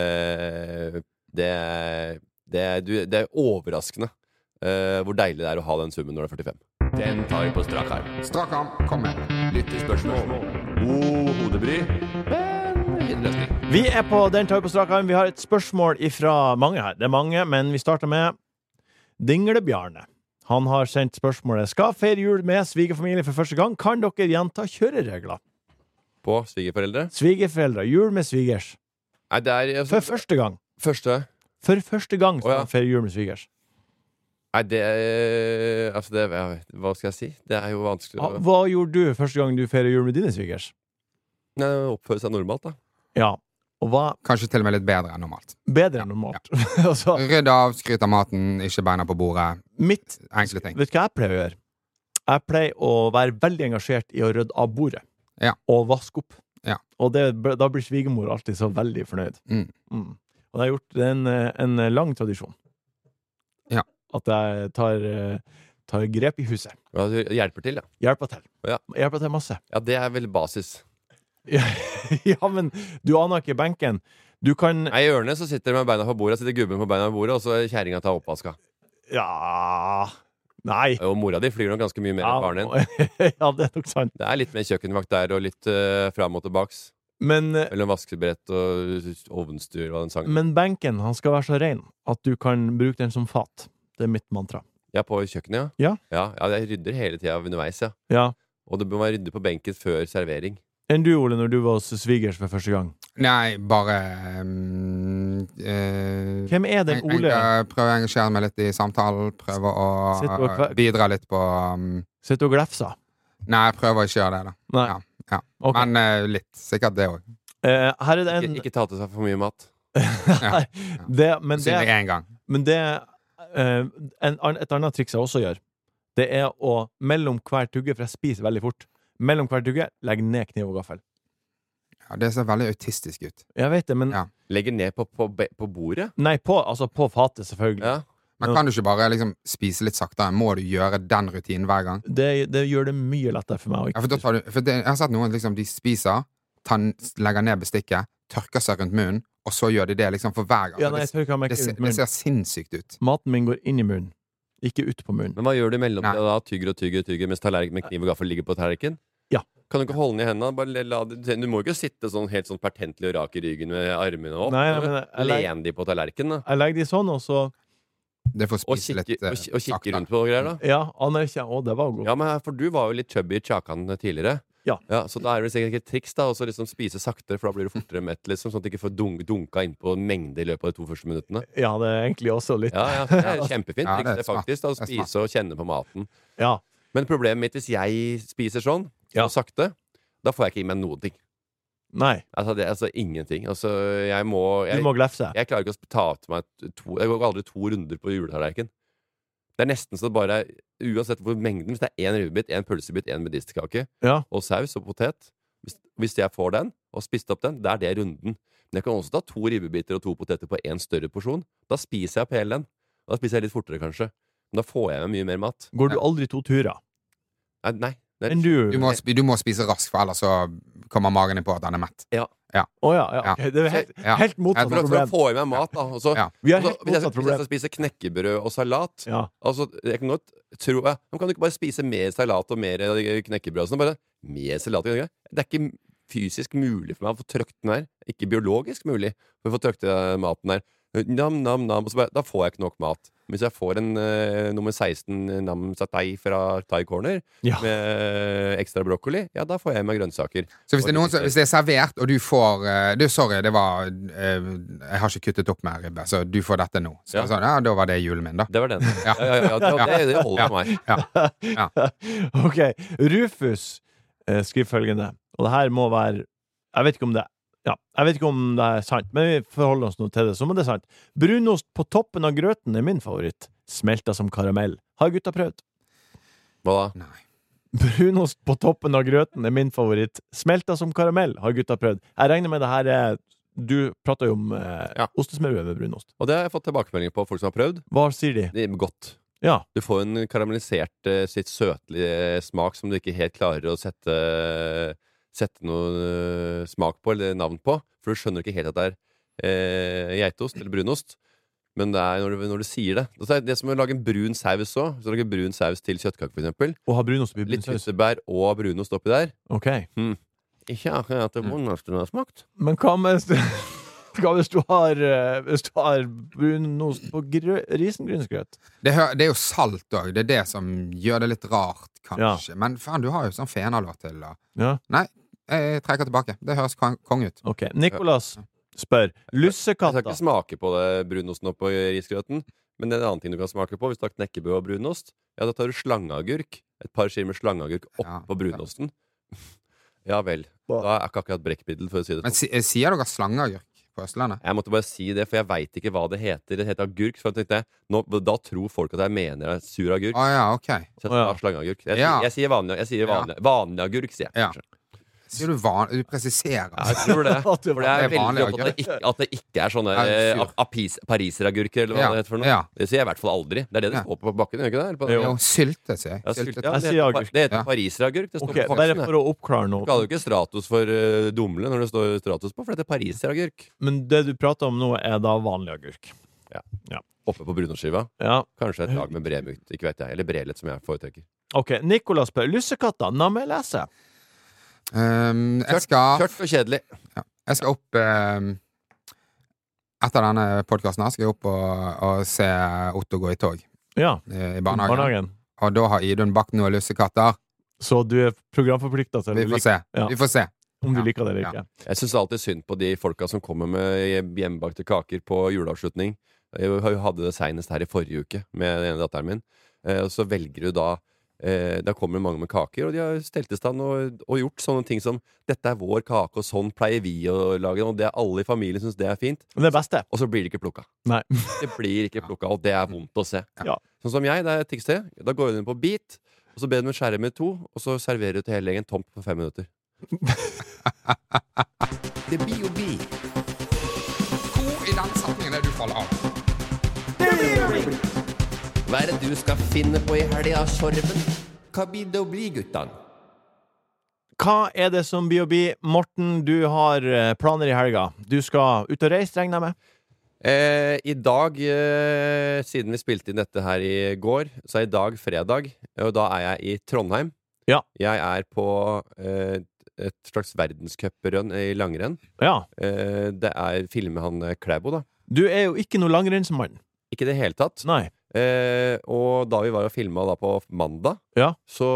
[SPEAKER 3] Eh, det, er- det, er- du, det er overraskende eh, hvor deilig det er å ha den summen når du er 45. Den tar vi på strak arm.
[SPEAKER 2] Strak arm, kom med.
[SPEAKER 3] Lyttespørsmål. God hodebry, men fin løsning.
[SPEAKER 1] Vi er på Den tar vi på strak arm. Vi har et spørsmål ifra mange her. Det er mange, men vi starter med Dinglebjarne. Han har sendt spørsmålet Skal feire jul med svigerfamilie for første gang. Kan dere gjenta kjøreregler?
[SPEAKER 3] På svigerforeldre?
[SPEAKER 1] Svigerforeldre. Jul med svigers.
[SPEAKER 3] Nei, det er altså,
[SPEAKER 1] For første gang.
[SPEAKER 3] Første
[SPEAKER 1] For første gang skal
[SPEAKER 3] Å, ja.
[SPEAKER 1] han feire jul med svigers.
[SPEAKER 3] Nei, det er Altså, det er, Hva skal jeg si? Det er jo vanskelig å
[SPEAKER 1] Ah, Hva gjorde du første gang du feirer jul med dine svigers?
[SPEAKER 3] Nei, oppføre seg normalt, da.
[SPEAKER 1] Ja. Og hva
[SPEAKER 2] Kanskje til og med litt bedre enn normalt.
[SPEAKER 1] bedre enn normalt? altså,
[SPEAKER 2] Rydd av, skryt av maten, ikke beina på bordet.
[SPEAKER 1] mitt
[SPEAKER 2] Enkle ting.
[SPEAKER 1] Vet du hva jeg pleier å gjøre? Jeg pleier å være veldig engasjert i å rydde av bordet
[SPEAKER 2] Ja.
[SPEAKER 1] og vaske opp.
[SPEAKER 2] Ja.
[SPEAKER 1] Og det, da blir svigermor alltid så veldig fornøyd.
[SPEAKER 2] Mm.
[SPEAKER 1] Og det har gjort det er en, eh, en lang tradisjon.
[SPEAKER 2] Ja.
[SPEAKER 1] At jeg tar, eh, tar grep i huset.
[SPEAKER 3] Ja, du hjelper til, ja.
[SPEAKER 1] Hjelper til.
[SPEAKER 3] Ja.
[SPEAKER 1] Hjelper til masse.
[SPEAKER 3] Ja, det er vel basis.
[SPEAKER 1] ja, men du aner ikke benken. Du kan
[SPEAKER 3] Nei, I ørene så sitter med beina på bordet, sitter gubben på beina på bordet, og så kjerringa tar oppvaska.
[SPEAKER 1] Ja Nei.
[SPEAKER 3] Og mora di flyr nok ganske mye mer
[SPEAKER 1] Ah,
[SPEAKER 3] enn faren din.
[SPEAKER 1] ja, det er nok sant.
[SPEAKER 3] Det er litt mer kjøkkenvakt der, og litt uh, fram og tilbaks.
[SPEAKER 1] Men, eh,
[SPEAKER 3] Mellom vaskebrett og ovnstuer, hva den sangen
[SPEAKER 1] men benken han skal være så ren at du kan bruke den som fat. Det er mitt mantra.
[SPEAKER 3] Ja, på kjøkkenet,
[SPEAKER 1] Ja.
[SPEAKER 3] ja. ja jeg rydder hele tida underveis, ja.
[SPEAKER 1] Ja.
[SPEAKER 3] Og det må være rydde på benken før servering.
[SPEAKER 1] Enn du, Ole, når du var hos svigers for første gang?
[SPEAKER 2] Nei, bare um, eh,
[SPEAKER 1] Hvem er den
[SPEAKER 2] Jeg,
[SPEAKER 1] Ole?
[SPEAKER 2] jeg eh, prøver å engasjere meg litt i samtalen. Prøver å
[SPEAKER 1] Sitt og
[SPEAKER 2] eh,
[SPEAKER 1] kve-
[SPEAKER 2] bidra litt på um,
[SPEAKER 1] Sitter du og glefser?
[SPEAKER 2] Nei, jeg prøver å ikke gjøre det, da.
[SPEAKER 1] Nei.
[SPEAKER 2] Ja, ja.
[SPEAKER 1] Ok.
[SPEAKER 2] Men eh, litt. Sikkert det òg.
[SPEAKER 1] Eh, her er det en
[SPEAKER 3] Ikke, ikke ta til seg for mye mat.
[SPEAKER 2] Ja.
[SPEAKER 1] det, men det,
[SPEAKER 2] Synlig én gang.
[SPEAKER 1] men det eh, en, ann- Et annet triks jeg også gjør, det er å mellom hver tugge, for jeg spiser veldig fort, mellom hver tugge legge ned kniv og gaffel.
[SPEAKER 2] Ja, det ser veldig autistisk ut.
[SPEAKER 1] Jeg vet det, men
[SPEAKER 2] Ja.
[SPEAKER 3] Legger ned på, på, be- på bordet.
[SPEAKER 1] Nei, på, altså på fatet, selvfølgelig.
[SPEAKER 3] Ja.
[SPEAKER 2] Men
[SPEAKER 1] Ja.
[SPEAKER 2] kan du ikke bare liksom spise litt saktere? Må du gjøre den rutinen hver gang?
[SPEAKER 1] Det, det gjør det mye lettere for meg. å
[SPEAKER 2] Ja, for da
[SPEAKER 1] ikke-
[SPEAKER 2] tar du, for det, jeg har sett noen liksom, de spiser, tar, legger ned bestikket, tørker seg rundt munnen, og så gjør de det liksom for hver gang.
[SPEAKER 1] Ja, nei, jeg
[SPEAKER 2] det,
[SPEAKER 1] tør ikke ha meg
[SPEAKER 2] det, ser-
[SPEAKER 1] rundt
[SPEAKER 2] det
[SPEAKER 1] munnen.
[SPEAKER 2] ser sinnssykt ut.
[SPEAKER 1] Maten min går inn i munnen, ikke ut på munnen.
[SPEAKER 3] Men hva gjør du i mellomtida
[SPEAKER 2] Nei.
[SPEAKER 3] da? Tygger og tygger og tygger mens tallerken med kniv og gaffel ligger på tallerken?
[SPEAKER 1] Ja.
[SPEAKER 3] Kan du ikke holde den i hendene? Bare le- la, den- du må jo ikke sitte sånn helt sånn pertentlig og rak i ryggen med armene opp.
[SPEAKER 1] Nei, nei, men jeg- jeg-
[SPEAKER 3] Len de på tallerkenen, da.
[SPEAKER 1] Jeg legger de sånn, og så
[SPEAKER 2] Det får
[SPEAKER 3] Og
[SPEAKER 2] spise
[SPEAKER 3] kikke,
[SPEAKER 2] litt eh,
[SPEAKER 3] og, ki- og kikke
[SPEAKER 2] saktere.
[SPEAKER 3] rundt på og greier, da.
[SPEAKER 1] Ja, anerkjenner Å, det var godt.
[SPEAKER 3] Ja, men for du var jo litt chubby i Chakan tidligere.
[SPEAKER 1] Ja.
[SPEAKER 3] Så da er det sikkert et triks da å liksom spise saktere, for da blir du fortere mett, liksom, sånn at du ikke får dunk, dunka innpå en mengde i løpet av de to første minuttene.
[SPEAKER 1] Ja, det er egentlig også litt
[SPEAKER 3] Ja, ja, det er kjempefint
[SPEAKER 2] Ja, det
[SPEAKER 3] triks,
[SPEAKER 2] er
[SPEAKER 3] det,
[SPEAKER 2] smart.
[SPEAKER 3] faktisk. Da, å
[SPEAKER 2] Det er smart.
[SPEAKER 3] spise og kjenne på maten.
[SPEAKER 1] Ja.
[SPEAKER 3] Men problemet mitt hvis jeg spiser sånn,
[SPEAKER 1] Ja.
[SPEAKER 3] og sakte, da får jeg ikke i meg noen ting.
[SPEAKER 1] Nei,
[SPEAKER 3] Altså, det, altså ingenting. Altså, jeg må
[SPEAKER 1] du
[SPEAKER 3] jeg,
[SPEAKER 1] må glefse.
[SPEAKER 3] jeg klarer ikke å sp- ta til meg to Jeg går aldri to runder på juletallerken. Det er nesten så det bare er- Uansett hvor mengden Hvis det er én rivebit, én pølsebit, én buddhistkake
[SPEAKER 1] Ja.
[SPEAKER 3] og saus og potet hvis, hvis jeg får den, og spist opp den, da er det runden. Men jeg kan også ta to ribbebiter og to poteter på én større porsjon. Da spiser jeg opp hele den. Da spiser jeg litt fortere, kanskje. Men da får jeg meg mye mer mat.
[SPEAKER 1] Går du aldri to turer?
[SPEAKER 3] Nei, nei. det er-
[SPEAKER 1] Enn du?
[SPEAKER 2] Du må, sp- du må spise raskt, for ellers så kommer magen din på at den er mett.
[SPEAKER 1] Å ja, ja. ok. Det er helt,
[SPEAKER 2] Ja.
[SPEAKER 1] helt motsatt
[SPEAKER 2] Jeg
[SPEAKER 3] For, for å
[SPEAKER 1] problem.
[SPEAKER 3] få i meg mat, da. Og så,
[SPEAKER 2] Ja.
[SPEAKER 1] Vi
[SPEAKER 3] og
[SPEAKER 1] har
[SPEAKER 3] så,
[SPEAKER 1] helt motsatt
[SPEAKER 3] hvis, jeg, hvis jeg skal
[SPEAKER 1] problem.
[SPEAKER 3] spise knekkebrød og salat
[SPEAKER 1] Ja.
[SPEAKER 3] Altså, jeg kan godt tro ja, men Kan du ikke bare spise mer salat og mer eh, knekkebrød? og Sånn, bare, mer salat og knekkebrød? Det er ikke fysisk mulig for meg å få trøkt den her. Ikke biologisk mulig for å få trøkt eh, maten her. Nam, nam, nam. Og så bare, da får jeg ikke nok mat. Men hvis jeg får en eh, nummer 16 nam satay fra Thai Corner
[SPEAKER 1] Ja.
[SPEAKER 3] med eh, ekstra brokkoli, ja, da får jeg med grønnsaker.
[SPEAKER 2] Så hvis det, er noen, som-
[SPEAKER 3] Og-
[SPEAKER 2] hvis det er servert, og du får eh, du, 'Sorry, det var eh, Jeg har ikke kuttet opp mer ribbe, så du får dette nå.' Så
[SPEAKER 3] Ja.
[SPEAKER 2] sånn, ja, da var det julen min, da.
[SPEAKER 3] Det var den. Ja,
[SPEAKER 2] Ja.
[SPEAKER 3] ja, ja, det,
[SPEAKER 2] Ja.
[SPEAKER 3] det, det holder for meg.
[SPEAKER 1] ok. Rufus eh, skriver følgende, og det her må være Jeg vet ikke om det ja, jeg vet ikke om det er sant, men vi forholder oss nå til det som om det er sant. Brunost på toppen av grøten er min favoritt. Smelta som karamell. Har gutta prøvd?
[SPEAKER 3] Hva da?
[SPEAKER 2] Nei.
[SPEAKER 1] Brunost på toppen av grøten er min favoritt. Smelta som karamell. Har gutta prøvd? Jeg regner med det her er Du prata jo om eh,
[SPEAKER 3] Ja.
[SPEAKER 1] ostesmørbrød med brunost.
[SPEAKER 3] Og det har jeg fått tilbakemeldinger på, folk som har prøvd.
[SPEAKER 1] Hva sier de?
[SPEAKER 3] Det er godt.
[SPEAKER 1] Ja.
[SPEAKER 3] Du får en karamellisert, eh, sitt søtlige smak som du ikke helt klarer å sette, sette noe eh, smak på eller navn på. For du skjønner ikke helt at det er eh, geitost eller brunost. Men det er når du, når du sier det. Og så er det som å lage en brun saus òg. Hvis du lager brun saus til kjøttkake, for eksempel
[SPEAKER 1] Å ha brunost oppi
[SPEAKER 3] Litt
[SPEAKER 1] brunsaus?
[SPEAKER 3] hyttebær og brunost oppi der.
[SPEAKER 1] Ok.
[SPEAKER 3] Ikke akkurat det vondeste den har smakt.
[SPEAKER 1] Men hva med hvis du, hva hvis du har eh, Hvis du har brunost på grø- risengrynsgrøt?
[SPEAKER 2] Det, hø- det er jo salt òg. Det er det som gjør det litt rart, kanskje. Men faen, du har jo sånn fenalåt til og
[SPEAKER 1] Ja.
[SPEAKER 2] Nei, jeg trekker tilbake. Det høres kon- konge ut.
[SPEAKER 1] Ok. Nicolas spør.
[SPEAKER 3] Jeg skal ikke
[SPEAKER 1] Lussekatter.
[SPEAKER 3] smake på det, brunosten oppå risgrøten. Men det er en annen ting du kan smake på. Hvis du har knekkebrød og brunost, ja, da tar du slangeagurk. Et par skiver med slangeagurk
[SPEAKER 2] Ja.
[SPEAKER 3] oppå brunosten. Ja vel.
[SPEAKER 1] Hva?
[SPEAKER 3] Da er ikke akkurat brekkmiddel, for å si det
[SPEAKER 2] Men
[SPEAKER 3] sånn.
[SPEAKER 2] si, eh, sier dere slangeagurk på Østlandet?
[SPEAKER 3] Jeg måtte bare si det, for jeg veit ikke hva det heter. Det heter agurk. For jeg tenkte, nå, da tror folk at jeg mener jeg er sur
[SPEAKER 2] Å
[SPEAKER 3] agurk.
[SPEAKER 2] Ah, ja, ok.
[SPEAKER 3] Så jeg
[SPEAKER 1] Å, ja.
[SPEAKER 3] tar slangeagurk. Jeg, sier-
[SPEAKER 2] Ja.
[SPEAKER 3] jeg sier vanlig, jeg sier vanlig, vanlig agurk, sier jeg.
[SPEAKER 2] Ja.
[SPEAKER 3] kanskje.
[SPEAKER 2] Sier du van... Du presiserer.
[SPEAKER 3] Jeg tror det.
[SPEAKER 1] At det
[SPEAKER 3] For det
[SPEAKER 1] var-
[SPEAKER 3] er
[SPEAKER 2] Det er vanlig,
[SPEAKER 3] veldig godt at det ikke, at det ikke er sånne
[SPEAKER 2] Ja,
[SPEAKER 3] eh,
[SPEAKER 2] fyr.
[SPEAKER 3] ap- apis- pariseragurker, eller hva
[SPEAKER 2] Ja,
[SPEAKER 3] det heter for noe.
[SPEAKER 2] ja.
[SPEAKER 3] Det sier jeg i hvert fall aldri. Det er det det
[SPEAKER 2] Ja.
[SPEAKER 3] står på bakken, gjør ikke det? Eller på den-
[SPEAKER 2] Jo, sylte, sier jeg.
[SPEAKER 3] Ja, sylt- ja,
[SPEAKER 2] Syltet.
[SPEAKER 3] det,
[SPEAKER 1] Jeg sier
[SPEAKER 3] heter,
[SPEAKER 1] agurk.
[SPEAKER 3] pa- det heter
[SPEAKER 2] Ja.
[SPEAKER 3] pariseragurk. Det står
[SPEAKER 1] Ok,
[SPEAKER 3] på
[SPEAKER 1] Bare
[SPEAKER 3] pakken.
[SPEAKER 1] for å oppklare
[SPEAKER 3] Du
[SPEAKER 1] noe.
[SPEAKER 3] kaller jo ikke Stratos for eh, dumle når det står Stratos på, for det heter pariseragurk.
[SPEAKER 1] Men det du prater om nå, er da vanlig agurk.
[SPEAKER 3] Oppe på brunostskiva.
[SPEAKER 1] Ja.
[SPEAKER 3] Kanskje et lag med bremukt, ikke vet jeg. Eller brelet, som jeg foretrekker.
[SPEAKER 1] Ok, Nicolas spør lussekatter. Namme lese.
[SPEAKER 2] Um, jeg, skal,
[SPEAKER 3] Tørt og kjedelig.
[SPEAKER 2] jeg skal opp um, Etter denne podkasten skal jeg opp og, og se Otto gå i tog
[SPEAKER 1] Ja.
[SPEAKER 2] eh, i barnehagen.
[SPEAKER 1] Barnehagen.
[SPEAKER 2] Og da har Idun bakt noen lussekatter.
[SPEAKER 1] Så du er programforplikta til
[SPEAKER 2] Vi
[SPEAKER 1] å
[SPEAKER 2] får
[SPEAKER 1] like-
[SPEAKER 2] se.
[SPEAKER 1] ja.
[SPEAKER 2] Vi får se.
[SPEAKER 1] om du
[SPEAKER 2] Ja.
[SPEAKER 1] liker det eller
[SPEAKER 2] Ja.
[SPEAKER 1] ikke.
[SPEAKER 3] Jeg syns alltid synd på de folka som kommer med hjemmebakte kaker på juleavslutning. Jeg hadde det seinest her i forrige uke med den ene datteren min. Eh, Og så velger du da eh, Da kommer mange med kaker, og de har stelt i stand og, og gjort sånne ting som 'Dette er vår kake, og sånn pleier vi å lage den', og det er alle i familien syns det er fint.
[SPEAKER 1] Men Det beste.
[SPEAKER 3] Og så blir det ikke plukka.
[SPEAKER 1] Nei.
[SPEAKER 3] Det blir ikke plukka, og det er vondt å se.
[SPEAKER 1] Ja.
[SPEAKER 3] Sånn som jeg, da jeg tikste, da går hun inn på bit, og så ber hun meg skjære med to, og så serverer hun til hele gjengen tomt på fem minutter.
[SPEAKER 4] Det blir jo bil.
[SPEAKER 2] Hvor i den setningen er det du faller av?
[SPEAKER 4] Hva er det du skal finne på i helga, Sorven? Hva blir det å bli, guttan?
[SPEAKER 1] Hva er det som blir å bli? Morten, du har eh, planer i helga. Du skal ut og reise, regner jeg med?
[SPEAKER 3] Eh, I dag, eh, siden vi spilte inn dette her i går, så er i dag fredag, og da er jeg i Trondheim.
[SPEAKER 1] Ja.
[SPEAKER 3] Jeg er på eh, et slags verdenscuprun i langrenn.
[SPEAKER 1] Ja.
[SPEAKER 3] Eh, det er filmer han eh, Klæbo, da.
[SPEAKER 1] Du er jo ikke noen langrennsmann.
[SPEAKER 3] Ikke i det hele tatt.
[SPEAKER 1] Nei.
[SPEAKER 3] Eh, og da vi var og filma da på mandag,
[SPEAKER 1] Ja.
[SPEAKER 3] så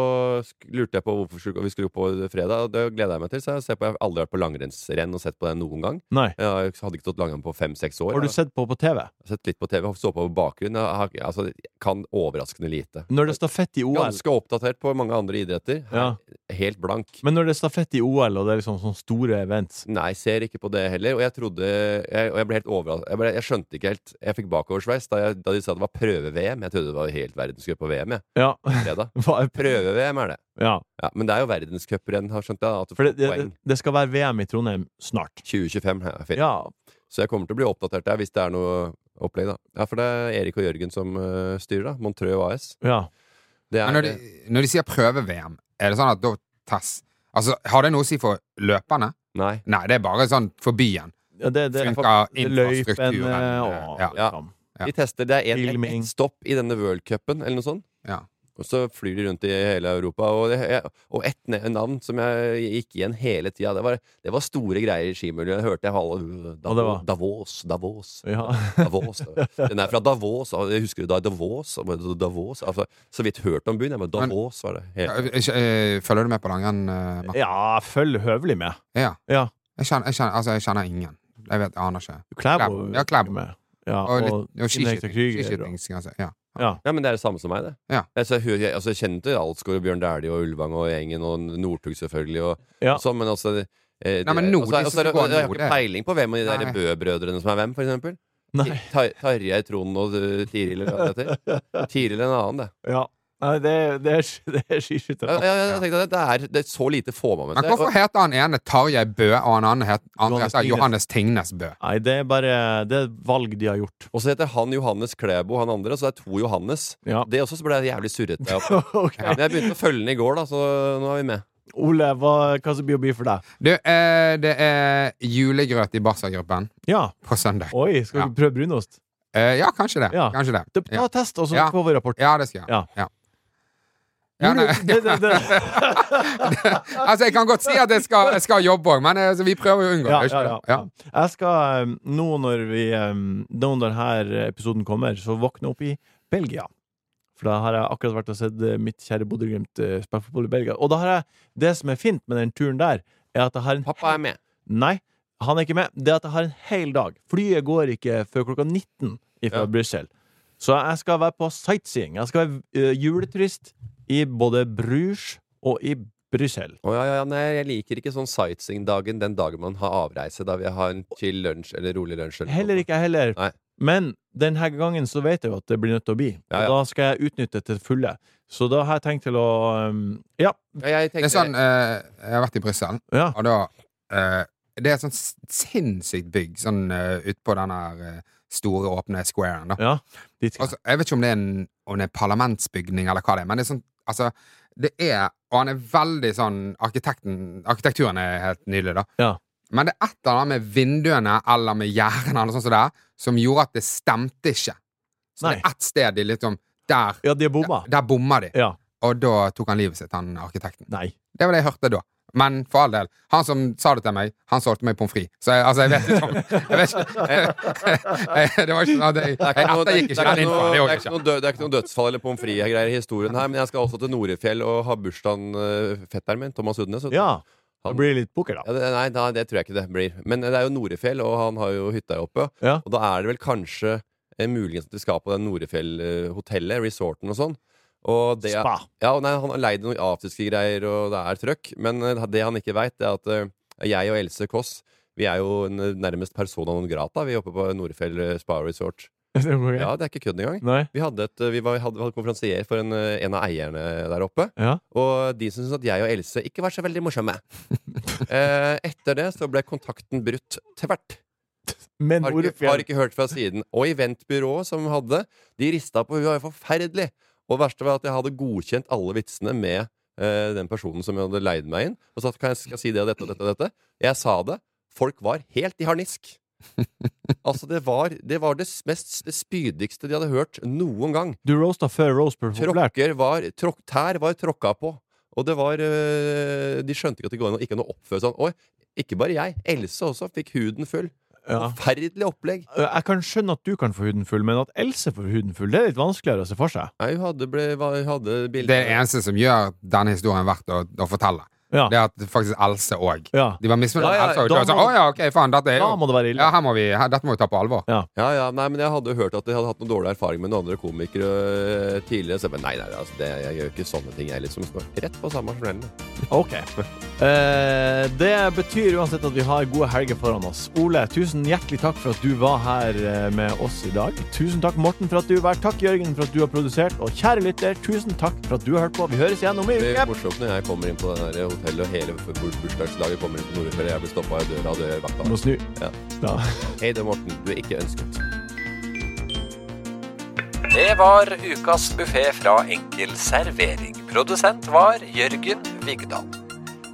[SPEAKER 3] sk- lurte jeg på hvorfor skulle- vi skulle opp på fredag. Og det gleder jeg meg til. Så jeg ser på, jeg har aldri vært på langrennsrenn og sett på det noen gang.
[SPEAKER 1] Nei.
[SPEAKER 3] Jeg har- hadde ikke stått langrenn på fem-seks år.
[SPEAKER 1] Har du
[SPEAKER 3] Jeg
[SPEAKER 1] sett på på TV?
[SPEAKER 3] har sett litt på TV, og så på bakgrunnen. Jeg har, altså, jeg kan overraskende lite.
[SPEAKER 1] Når det er stafett i OL
[SPEAKER 3] Ganske oppdatert på mange andre idretter.
[SPEAKER 1] Ja.
[SPEAKER 3] Helt blank.
[SPEAKER 1] Men når det er stafett i OL, og det er liksom sånne store events
[SPEAKER 3] Nei, ser ikke på det heller. Og jeg trodde Jeg, og jeg ble helt overrasket. Jeg, ble, jeg skjønte ikke helt Jeg fikk bakoversveis da, jeg- da de sa det var prøve-VM. Jeg trodde det var helt verdenscup på VM. Jeg,
[SPEAKER 1] Ja.
[SPEAKER 3] fredag.
[SPEAKER 1] Hva er pr-
[SPEAKER 3] Prøve-VM er det.
[SPEAKER 1] ja.
[SPEAKER 3] Ja, men det er jo verdenscuprenn, har skjønt jeg. At du
[SPEAKER 1] For det,
[SPEAKER 3] får
[SPEAKER 1] det,
[SPEAKER 3] poeng.
[SPEAKER 1] det skal være VM i Trondheim snart.
[SPEAKER 3] 2025 er fint.
[SPEAKER 1] Ja.
[SPEAKER 3] Så jeg kommer til å bli oppdatert der hvis det er noe opplegg, da. Ja, for det er Erik og Jørgen som eh, styrer, da. Montreux AS.
[SPEAKER 1] ja.
[SPEAKER 3] Det er,
[SPEAKER 2] Men når de, når de sier prøve-VM, er det sånn at da tess Altså, har det noe å si for løperne?
[SPEAKER 3] Nei.
[SPEAKER 2] Nei, det er bare sånn for byen.
[SPEAKER 1] ja det, det,
[SPEAKER 2] Funker
[SPEAKER 1] det løypen
[SPEAKER 2] infrastrukturen.
[SPEAKER 1] eh,
[SPEAKER 2] eh,
[SPEAKER 1] å,
[SPEAKER 2] Ja.
[SPEAKER 3] Ja.
[SPEAKER 1] liksom.
[SPEAKER 2] Ja.
[SPEAKER 3] De tester. Det er en-
[SPEAKER 1] Filming.
[SPEAKER 3] ett stopp i denne worldcupen, eller noe sånt.
[SPEAKER 2] Ja.
[SPEAKER 3] Og så flyr de rundt i hele Europa. Og, det, jeg- og ett ne- navn som jeg gikk igjen hele tida. Det, var- det var store greier i skimiljøet. Jeg hørte jeg alle
[SPEAKER 1] Og det var-
[SPEAKER 3] Davo- Davos, Davos.
[SPEAKER 1] Ja.
[SPEAKER 3] Davos. da. Den er fra Davos. og Jeg husker da Davos. og bare Davos altså, så vidt hørt om byen. Jeg bare, Davos var det.
[SPEAKER 2] Ja,
[SPEAKER 3] Helt.
[SPEAKER 2] eh, eh, Følger du med på langrenn, eh, Martin?
[SPEAKER 1] ja, følg høvelig med.
[SPEAKER 2] Ja.
[SPEAKER 1] Ja.
[SPEAKER 2] Jeg kjenner, jeg kjenner, altså, jeg kjenner ingen. Jeg vet, jeg aner ikke.
[SPEAKER 1] Klæbo.
[SPEAKER 2] Ja, Klæbo.
[SPEAKER 1] med. Ja,
[SPEAKER 2] Og litt og
[SPEAKER 1] Henrietta
[SPEAKER 2] skiskyting.
[SPEAKER 1] Krüger,
[SPEAKER 2] skiskyting, skal jeg si. Ja.
[SPEAKER 3] Ja, men det er det samme som meg, det.
[SPEAKER 2] Ja.
[SPEAKER 3] Altså, jeg, hører- jeg, altså, jeg kjenner til Alsgaard og Bjørn Dæhlie og Ulvang og gjengen og Northug selvfølgelig og
[SPEAKER 1] Ja.
[SPEAKER 3] og sånn, men altså eh, det-
[SPEAKER 2] Nei, men Nord-
[SPEAKER 3] altså, altså,
[SPEAKER 2] de som går
[SPEAKER 3] Jeg har
[SPEAKER 2] Nord,
[SPEAKER 3] ikke
[SPEAKER 2] det.
[SPEAKER 3] peiling på hvem av de der
[SPEAKER 2] Nei.
[SPEAKER 3] Bø-brødrene som er hvem, for eksempel.
[SPEAKER 1] Nei.
[SPEAKER 3] Tar- Tarjei, Trond og eh, Tiril eller hva det heter. Tiril er en annen, det.
[SPEAKER 1] Ja. Nei, det, det er, det er skiskyttere.
[SPEAKER 3] Jeg, jeg, jeg tenkte at det er, det er så lite får man med
[SPEAKER 2] Men hvorfor
[SPEAKER 3] seg.
[SPEAKER 2] heter han ene Tarjei Bø, og han andre het- andre
[SPEAKER 1] Johannes
[SPEAKER 2] heter
[SPEAKER 1] Tingnes.
[SPEAKER 2] Johannes Tingnes Bø?
[SPEAKER 1] Nei, det er bare Det er valg de har gjort.
[SPEAKER 3] Og så heter han Johannes Klæbo, han andre, så det er to Johannes.
[SPEAKER 1] Ja.
[SPEAKER 3] Det også så ble jeg jævlig surrete. av.
[SPEAKER 1] Ok.
[SPEAKER 3] Men jeg begynte å følge den i går, da, så nå er vi med.
[SPEAKER 1] Ole, hva, hva som blir å bli for deg?
[SPEAKER 2] Du, eh, det er julegrøt i Barca-gruppen
[SPEAKER 1] Ja.
[SPEAKER 2] på søndag.
[SPEAKER 1] Oi, skal
[SPEAKER 2] Ja.
[SPEAKER 1] du prøve brunost?
[SPEAKER 2] Eh, ja, kanskje det.
[SPEAKER 1] Ja.
[SPEAKER 2] Kanskje det.
[SPEAKER 1] Ta ta
[SPEAKER 2] Ja.
[SPEAKER 1] test, og så
[SPEAKER 2] Ja.
[SPEAKER 1] får vi rapport.
[SPEAKER 2] ja, det skal jeg.
[SPEAKER 1] Ja.
[SPEAKER 2] Ja. Ja, nei,
[SPEAKER 1] det, det, det.
[SPEAKER 2] altså, jeg kan godt si at jeg skal, jeg skal jobbe òg, men eh, altså, vi prøver å unngå
[SPEAKER 1] Ja,
[SPEAKER 2] det.
[SPEAKER 1] ja,
[SPEAKER 2] ikke
[SPEAKER 1] ja.
[SPEAKER 2] det? Ja.
[SPEAKER 1] Jeg skal eh, nå når vi eh, Nå når denne episoden kommer, så våkne opp i Belgia. For da har jeg akkurat vært og sett eh, mitt kjære Bodø-Glimt eh, spille fotball i Belgia. Og da har jeg, det som er fint med den turen der, er at jeg har en
[SPEAKER 3] Pappa er med.
[SPEAKER 1] Nei, han er ikke med. Det er at jeg har en hel dag. Flyet går ikke før klokka 19 fra
[SPEAKER 3] Ja.
[SPEAKER 1] Brussel. Så jeg skal være på sightseeing. Jeg skal være eh, juleturist i både Bruges og i Brussel.
[SPEAKER 3] Å, ja, ja, ja, nei, jeg liker ikke sånn sightseeing-dagen den dagen man har avreise. Da vil jeg ha en chill lunsj eller rolig lunsj. eller noe.
[SPEAKER 1] Heller ikke jeg heller.
[SPEAKER 3] Nei.
[SPEAKER 1] Men denne gangen så vet jeg jo at det blir nødt til å bli.
[SPEAKER 3] Ja, ja.
[SPEAKER 1] Og da skal jeg utnytte det til fulle. Så da har jeg tenkt til å um, Ja.
[SPEAKER 3] Ja, jeg
[SPEAKER 2] Det
[SPEAKER 3] tenkte,
[SPEAKER 2] er sånn, eh, Jeg har vært i Brussel,
[SPEAKER 1] ja.
[SPEAKER 2] og da eh, Det er et sånt s- sinnssykt bygg sånn eh, utpå den her eh, store, åpne squaren. da
[SPEAKER 1] ja. Dit skal jeg.
[SPEAKER 2] Altså, jeg vet ikke om det er en, om det er en parlamentsbygning eller hva det er, men det er sånn Altså, det er Og han er veldig sånn arkitekten, Arkitekturen er helt nydelig, da.
[SPEAKER 1] Ja.
[SPEAKER 2] Men det er et eller annet med vinduene eller med gjerdene eller sånn som det er, som gjorde at det stemte ikke. Så
[SPEAKER 1] Nei.
[SPEAKER 2] det er ett sted de liksom Der,
[SPEAKER 1] Ja, de er bomma.
[SPEAKER 2] der bomma de.
[SPEAKER 1] Ja.
[SPEAKER 2] Og da tok han livet sitt, han arkitekten.
[SPEAKER 1] Nei.
[SPEAKER 2] Det var det jeg hørte da. Men for all del, han som sa det til meg, han solgte meg pommes frites. Så jeg, altså, jeg vet ikke om jeg vet ikke, Det var ikke sånn at jeg,
[SPEAKER 3] det er ikke noe-
[SPEAKER 2] jeg ettergikk
[SPEAKER 3] det
[SPEAKER 2] ikke
[SPEAKER 3] er
[SPEAKER 2] den
[SPEAKER 3] ikke noe-
[SPEAKER 2] infoen. Det
[SPEAKER 3] det er
[SPEAKER 2] gjorde jeg ikke.
[SPEAKER 3] ikke sånn. noe død- det er ikke noe dødsfall eller pommes frites-greier i historien her, men jeg skal også til Norefjell og ha bursdagen eh, fetteren min, Thomas Hudnes. vet du.
[SPEAKER 1] Ja. Det blir litt poker,
[SPEAKER 3] Ja,
[SPEAKER 1] da.
[SPEAKER 3] det, nei, da, det tror jeg ikke det blir. Men det er jo Norefjell, og han har jo hytta her oppe.
[SPEAKER 1] Ja.
[SPEAKER 3] Og da er det vel kanskje eh, muligens at vi skal på den Norefjell-hotellet, resorten og sånn. Og det,
[SPEAKER 1] Spa.
[SPEAKER 3] ja, og nei, han har leid noen afterski greier, og det er trøkk. Men eh, det han ikke veit, er at eh, jeg og Else Kåss vi er jo n- nærmest persona non grata, vi er oppe på Norefjell eh, spa resort. Ja, det er ikke kødd engang.
[SPEAKER 1] Nei.
[SPEAKER 3] Vi hadde, et, eh, vi var, hadde, hadde konferansier for en, eh, en av eierne der oppe.
[SPEAKER 1] Ja.
[SPEAKER 3] Og de syntes at jeg og Else ikke var så veldig morsomme. eh, etter det så ble kontakten brutt tvert.
[SPEAKER 1] Men
[SPEAKER 3] Har ikke, har
[SPEAKER 1] Orefjell
[SPEAKER 3] ikke hørt fra siden. Og eventbyrået som hadde, de rista på huet. Det var Forferdelig. Og det verste var at jeg hadde godkjent alle vitsene med eh, den personen som jeg hadde leid meg inn. Og sagt kan jeg skal jeg si det og dette og dette og dette. Jeg sa det. Folk var helt i harnisk. Altså, det var det, var det mest spydigste de hadde hørt noen gang.
[SPEAKER 1] Du roasta før roast ble populært.
[SPEAKER 3] Tråkker var, tråk, tær var tråkka på. Og det var øh, De skjønte ikke at det går an å ikke noe oppføre seg sånn. Og ikke bare jeg. Else også fikk huden full.
[SPEAKER 1] Ja.
[SPEAKER 3] Forferdelig opplegg.
[SPEAKER 1] Jeg kan skjønne at du kan få huden full, men at Else får huden full, det er litt vanskeligere å se for seg.
[SPEAKER 3] Nei, hun hadde, ble, var, hun hadde bilder
[SPEAKER 2] Det er det eneste som gjør denne historien verdt å, å fortelle.
[SPEAKER 1] Ja.
[SPEAKER 2] Det er at faktisk Else òg
[SPEAKER 1] Ja.
[SPEAKER 2] De var misfornøyd med
[SPEAKER 3] Ja, ja,
[SPEAKER 2] Else. Og de
[SPEAKER 1] da
[SPEAKER 2] var sånn,
[SPEAKER 1] må-
[SPEAKER 2] Å ja, ok, faen, dette er
[SPEAKER 1] Da
[SPEAKER 2] jo
[SPEAKER 1] må det være
[SPEAKER 2] ja,
[SPEAKER 1] ille.
[SPEAKER 2] her må vi, her, Dette må vi ta på alvor.
[SPEAKER 3] Ja, ja, nei, men Jeg hadde jo hørt at de hadde hatt noen dårlig erfaring med noen andre komikere øh, tidligere. Så jeg bare, nei, nei, altså, det, jeg gjør ikke sånne ting. Jeg liksom står rett på samme smellen.
[SPEAKER 1] Ok. Eh, det betyr uansett at vi har gode helger foran oss. Ole, tusen hjertelig takk for at du var her eh, med oss i dag. Tusen takk, Morten, for at du var her. Takk, Jørgen, for at du har produsert. Og kjære lytter, tusen takk for at du har hørt på. Vi høres igjen om en
[SPEAKER 3] Det
[SPEAKER 1] uke.
[SPEAKER 3] er morsomt når jeg kommer inn på det der hotellet, og hele burs- bursdagslaget kommer inn på Norefjell, og jeg blir stoppa i døra, og det gjør
[SPEAKER 1] Må
[SPEAKER 3] vakta.
[SPEAKER 1] snu.
[SPEAKER 3] Ja.
[SPEAKER 1] Ja.
[SPEAKER 3] Hei, det er Morten. Du er ikke ønsket.
[SPEAKER 5] Det var ukas buffé fra Enkel servering. Produsent var Jørgen Vigdal.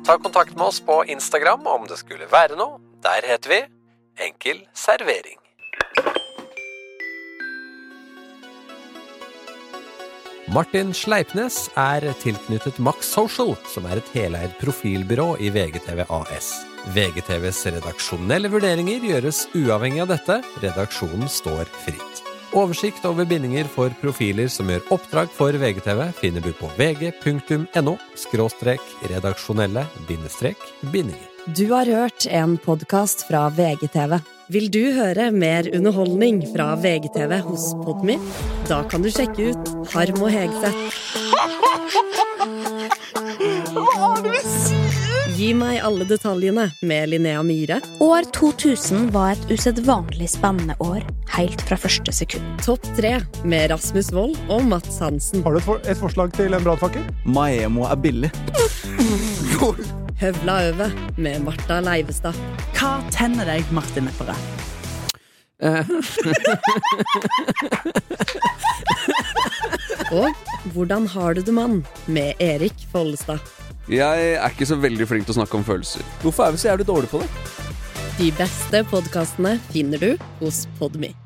[SPEAKER 5] Ta kontakt med oss på Instagram om det skulle være noe. Der heter vi Enkel servering. Martin Sleipnes er tilknyttet Max Social, som er et heleid profilbyrå i VGTV AS. VGTVs redaksjonelle vurderinger gjøres uavhengig av dette. Redaksjonen står fritt. Oversikt over bindinger for profiler som gjør oppdrag for VGTV, finner du på vg.no – redaksjonelle – bindinger.
[SPEAKER 6] Du har hørt en podkast fra VGTV.
[SPEAKER 7] Vil du høre mer underholdning fra VGTV hos Podmy? Da kan du sjekke ut Harm og Hegseth. Gi meg alle detaljene med Linnea Myhre.
[SPEAKER 8] År 2000 var et usedvanlig spennende år, helt fra første sekund.
[SPEAKER 7] Topp tre med Rasmus Wold og Mats Hansen.
[SPEAKER 1] Har du et, forslag til en brannfakkel?
[SPEAKER 9] Maemo er billig.
[SPEAKER 7] Høvla over med Marta Leivestad.
[SPEAKER 10] Hva tenner deg, Martin Lepperød?
[SPEAKER 7] Eh. Og Hvordan har du det, mann? med Erik Follestad.
[SPEAKER 9] Jeg er ikke så veldig flink til å snakke om følelser. Hvorfor er vi så jævlig dårlige på det?
[SPEAKER 7] De beste podkastene finner du hos Podmy.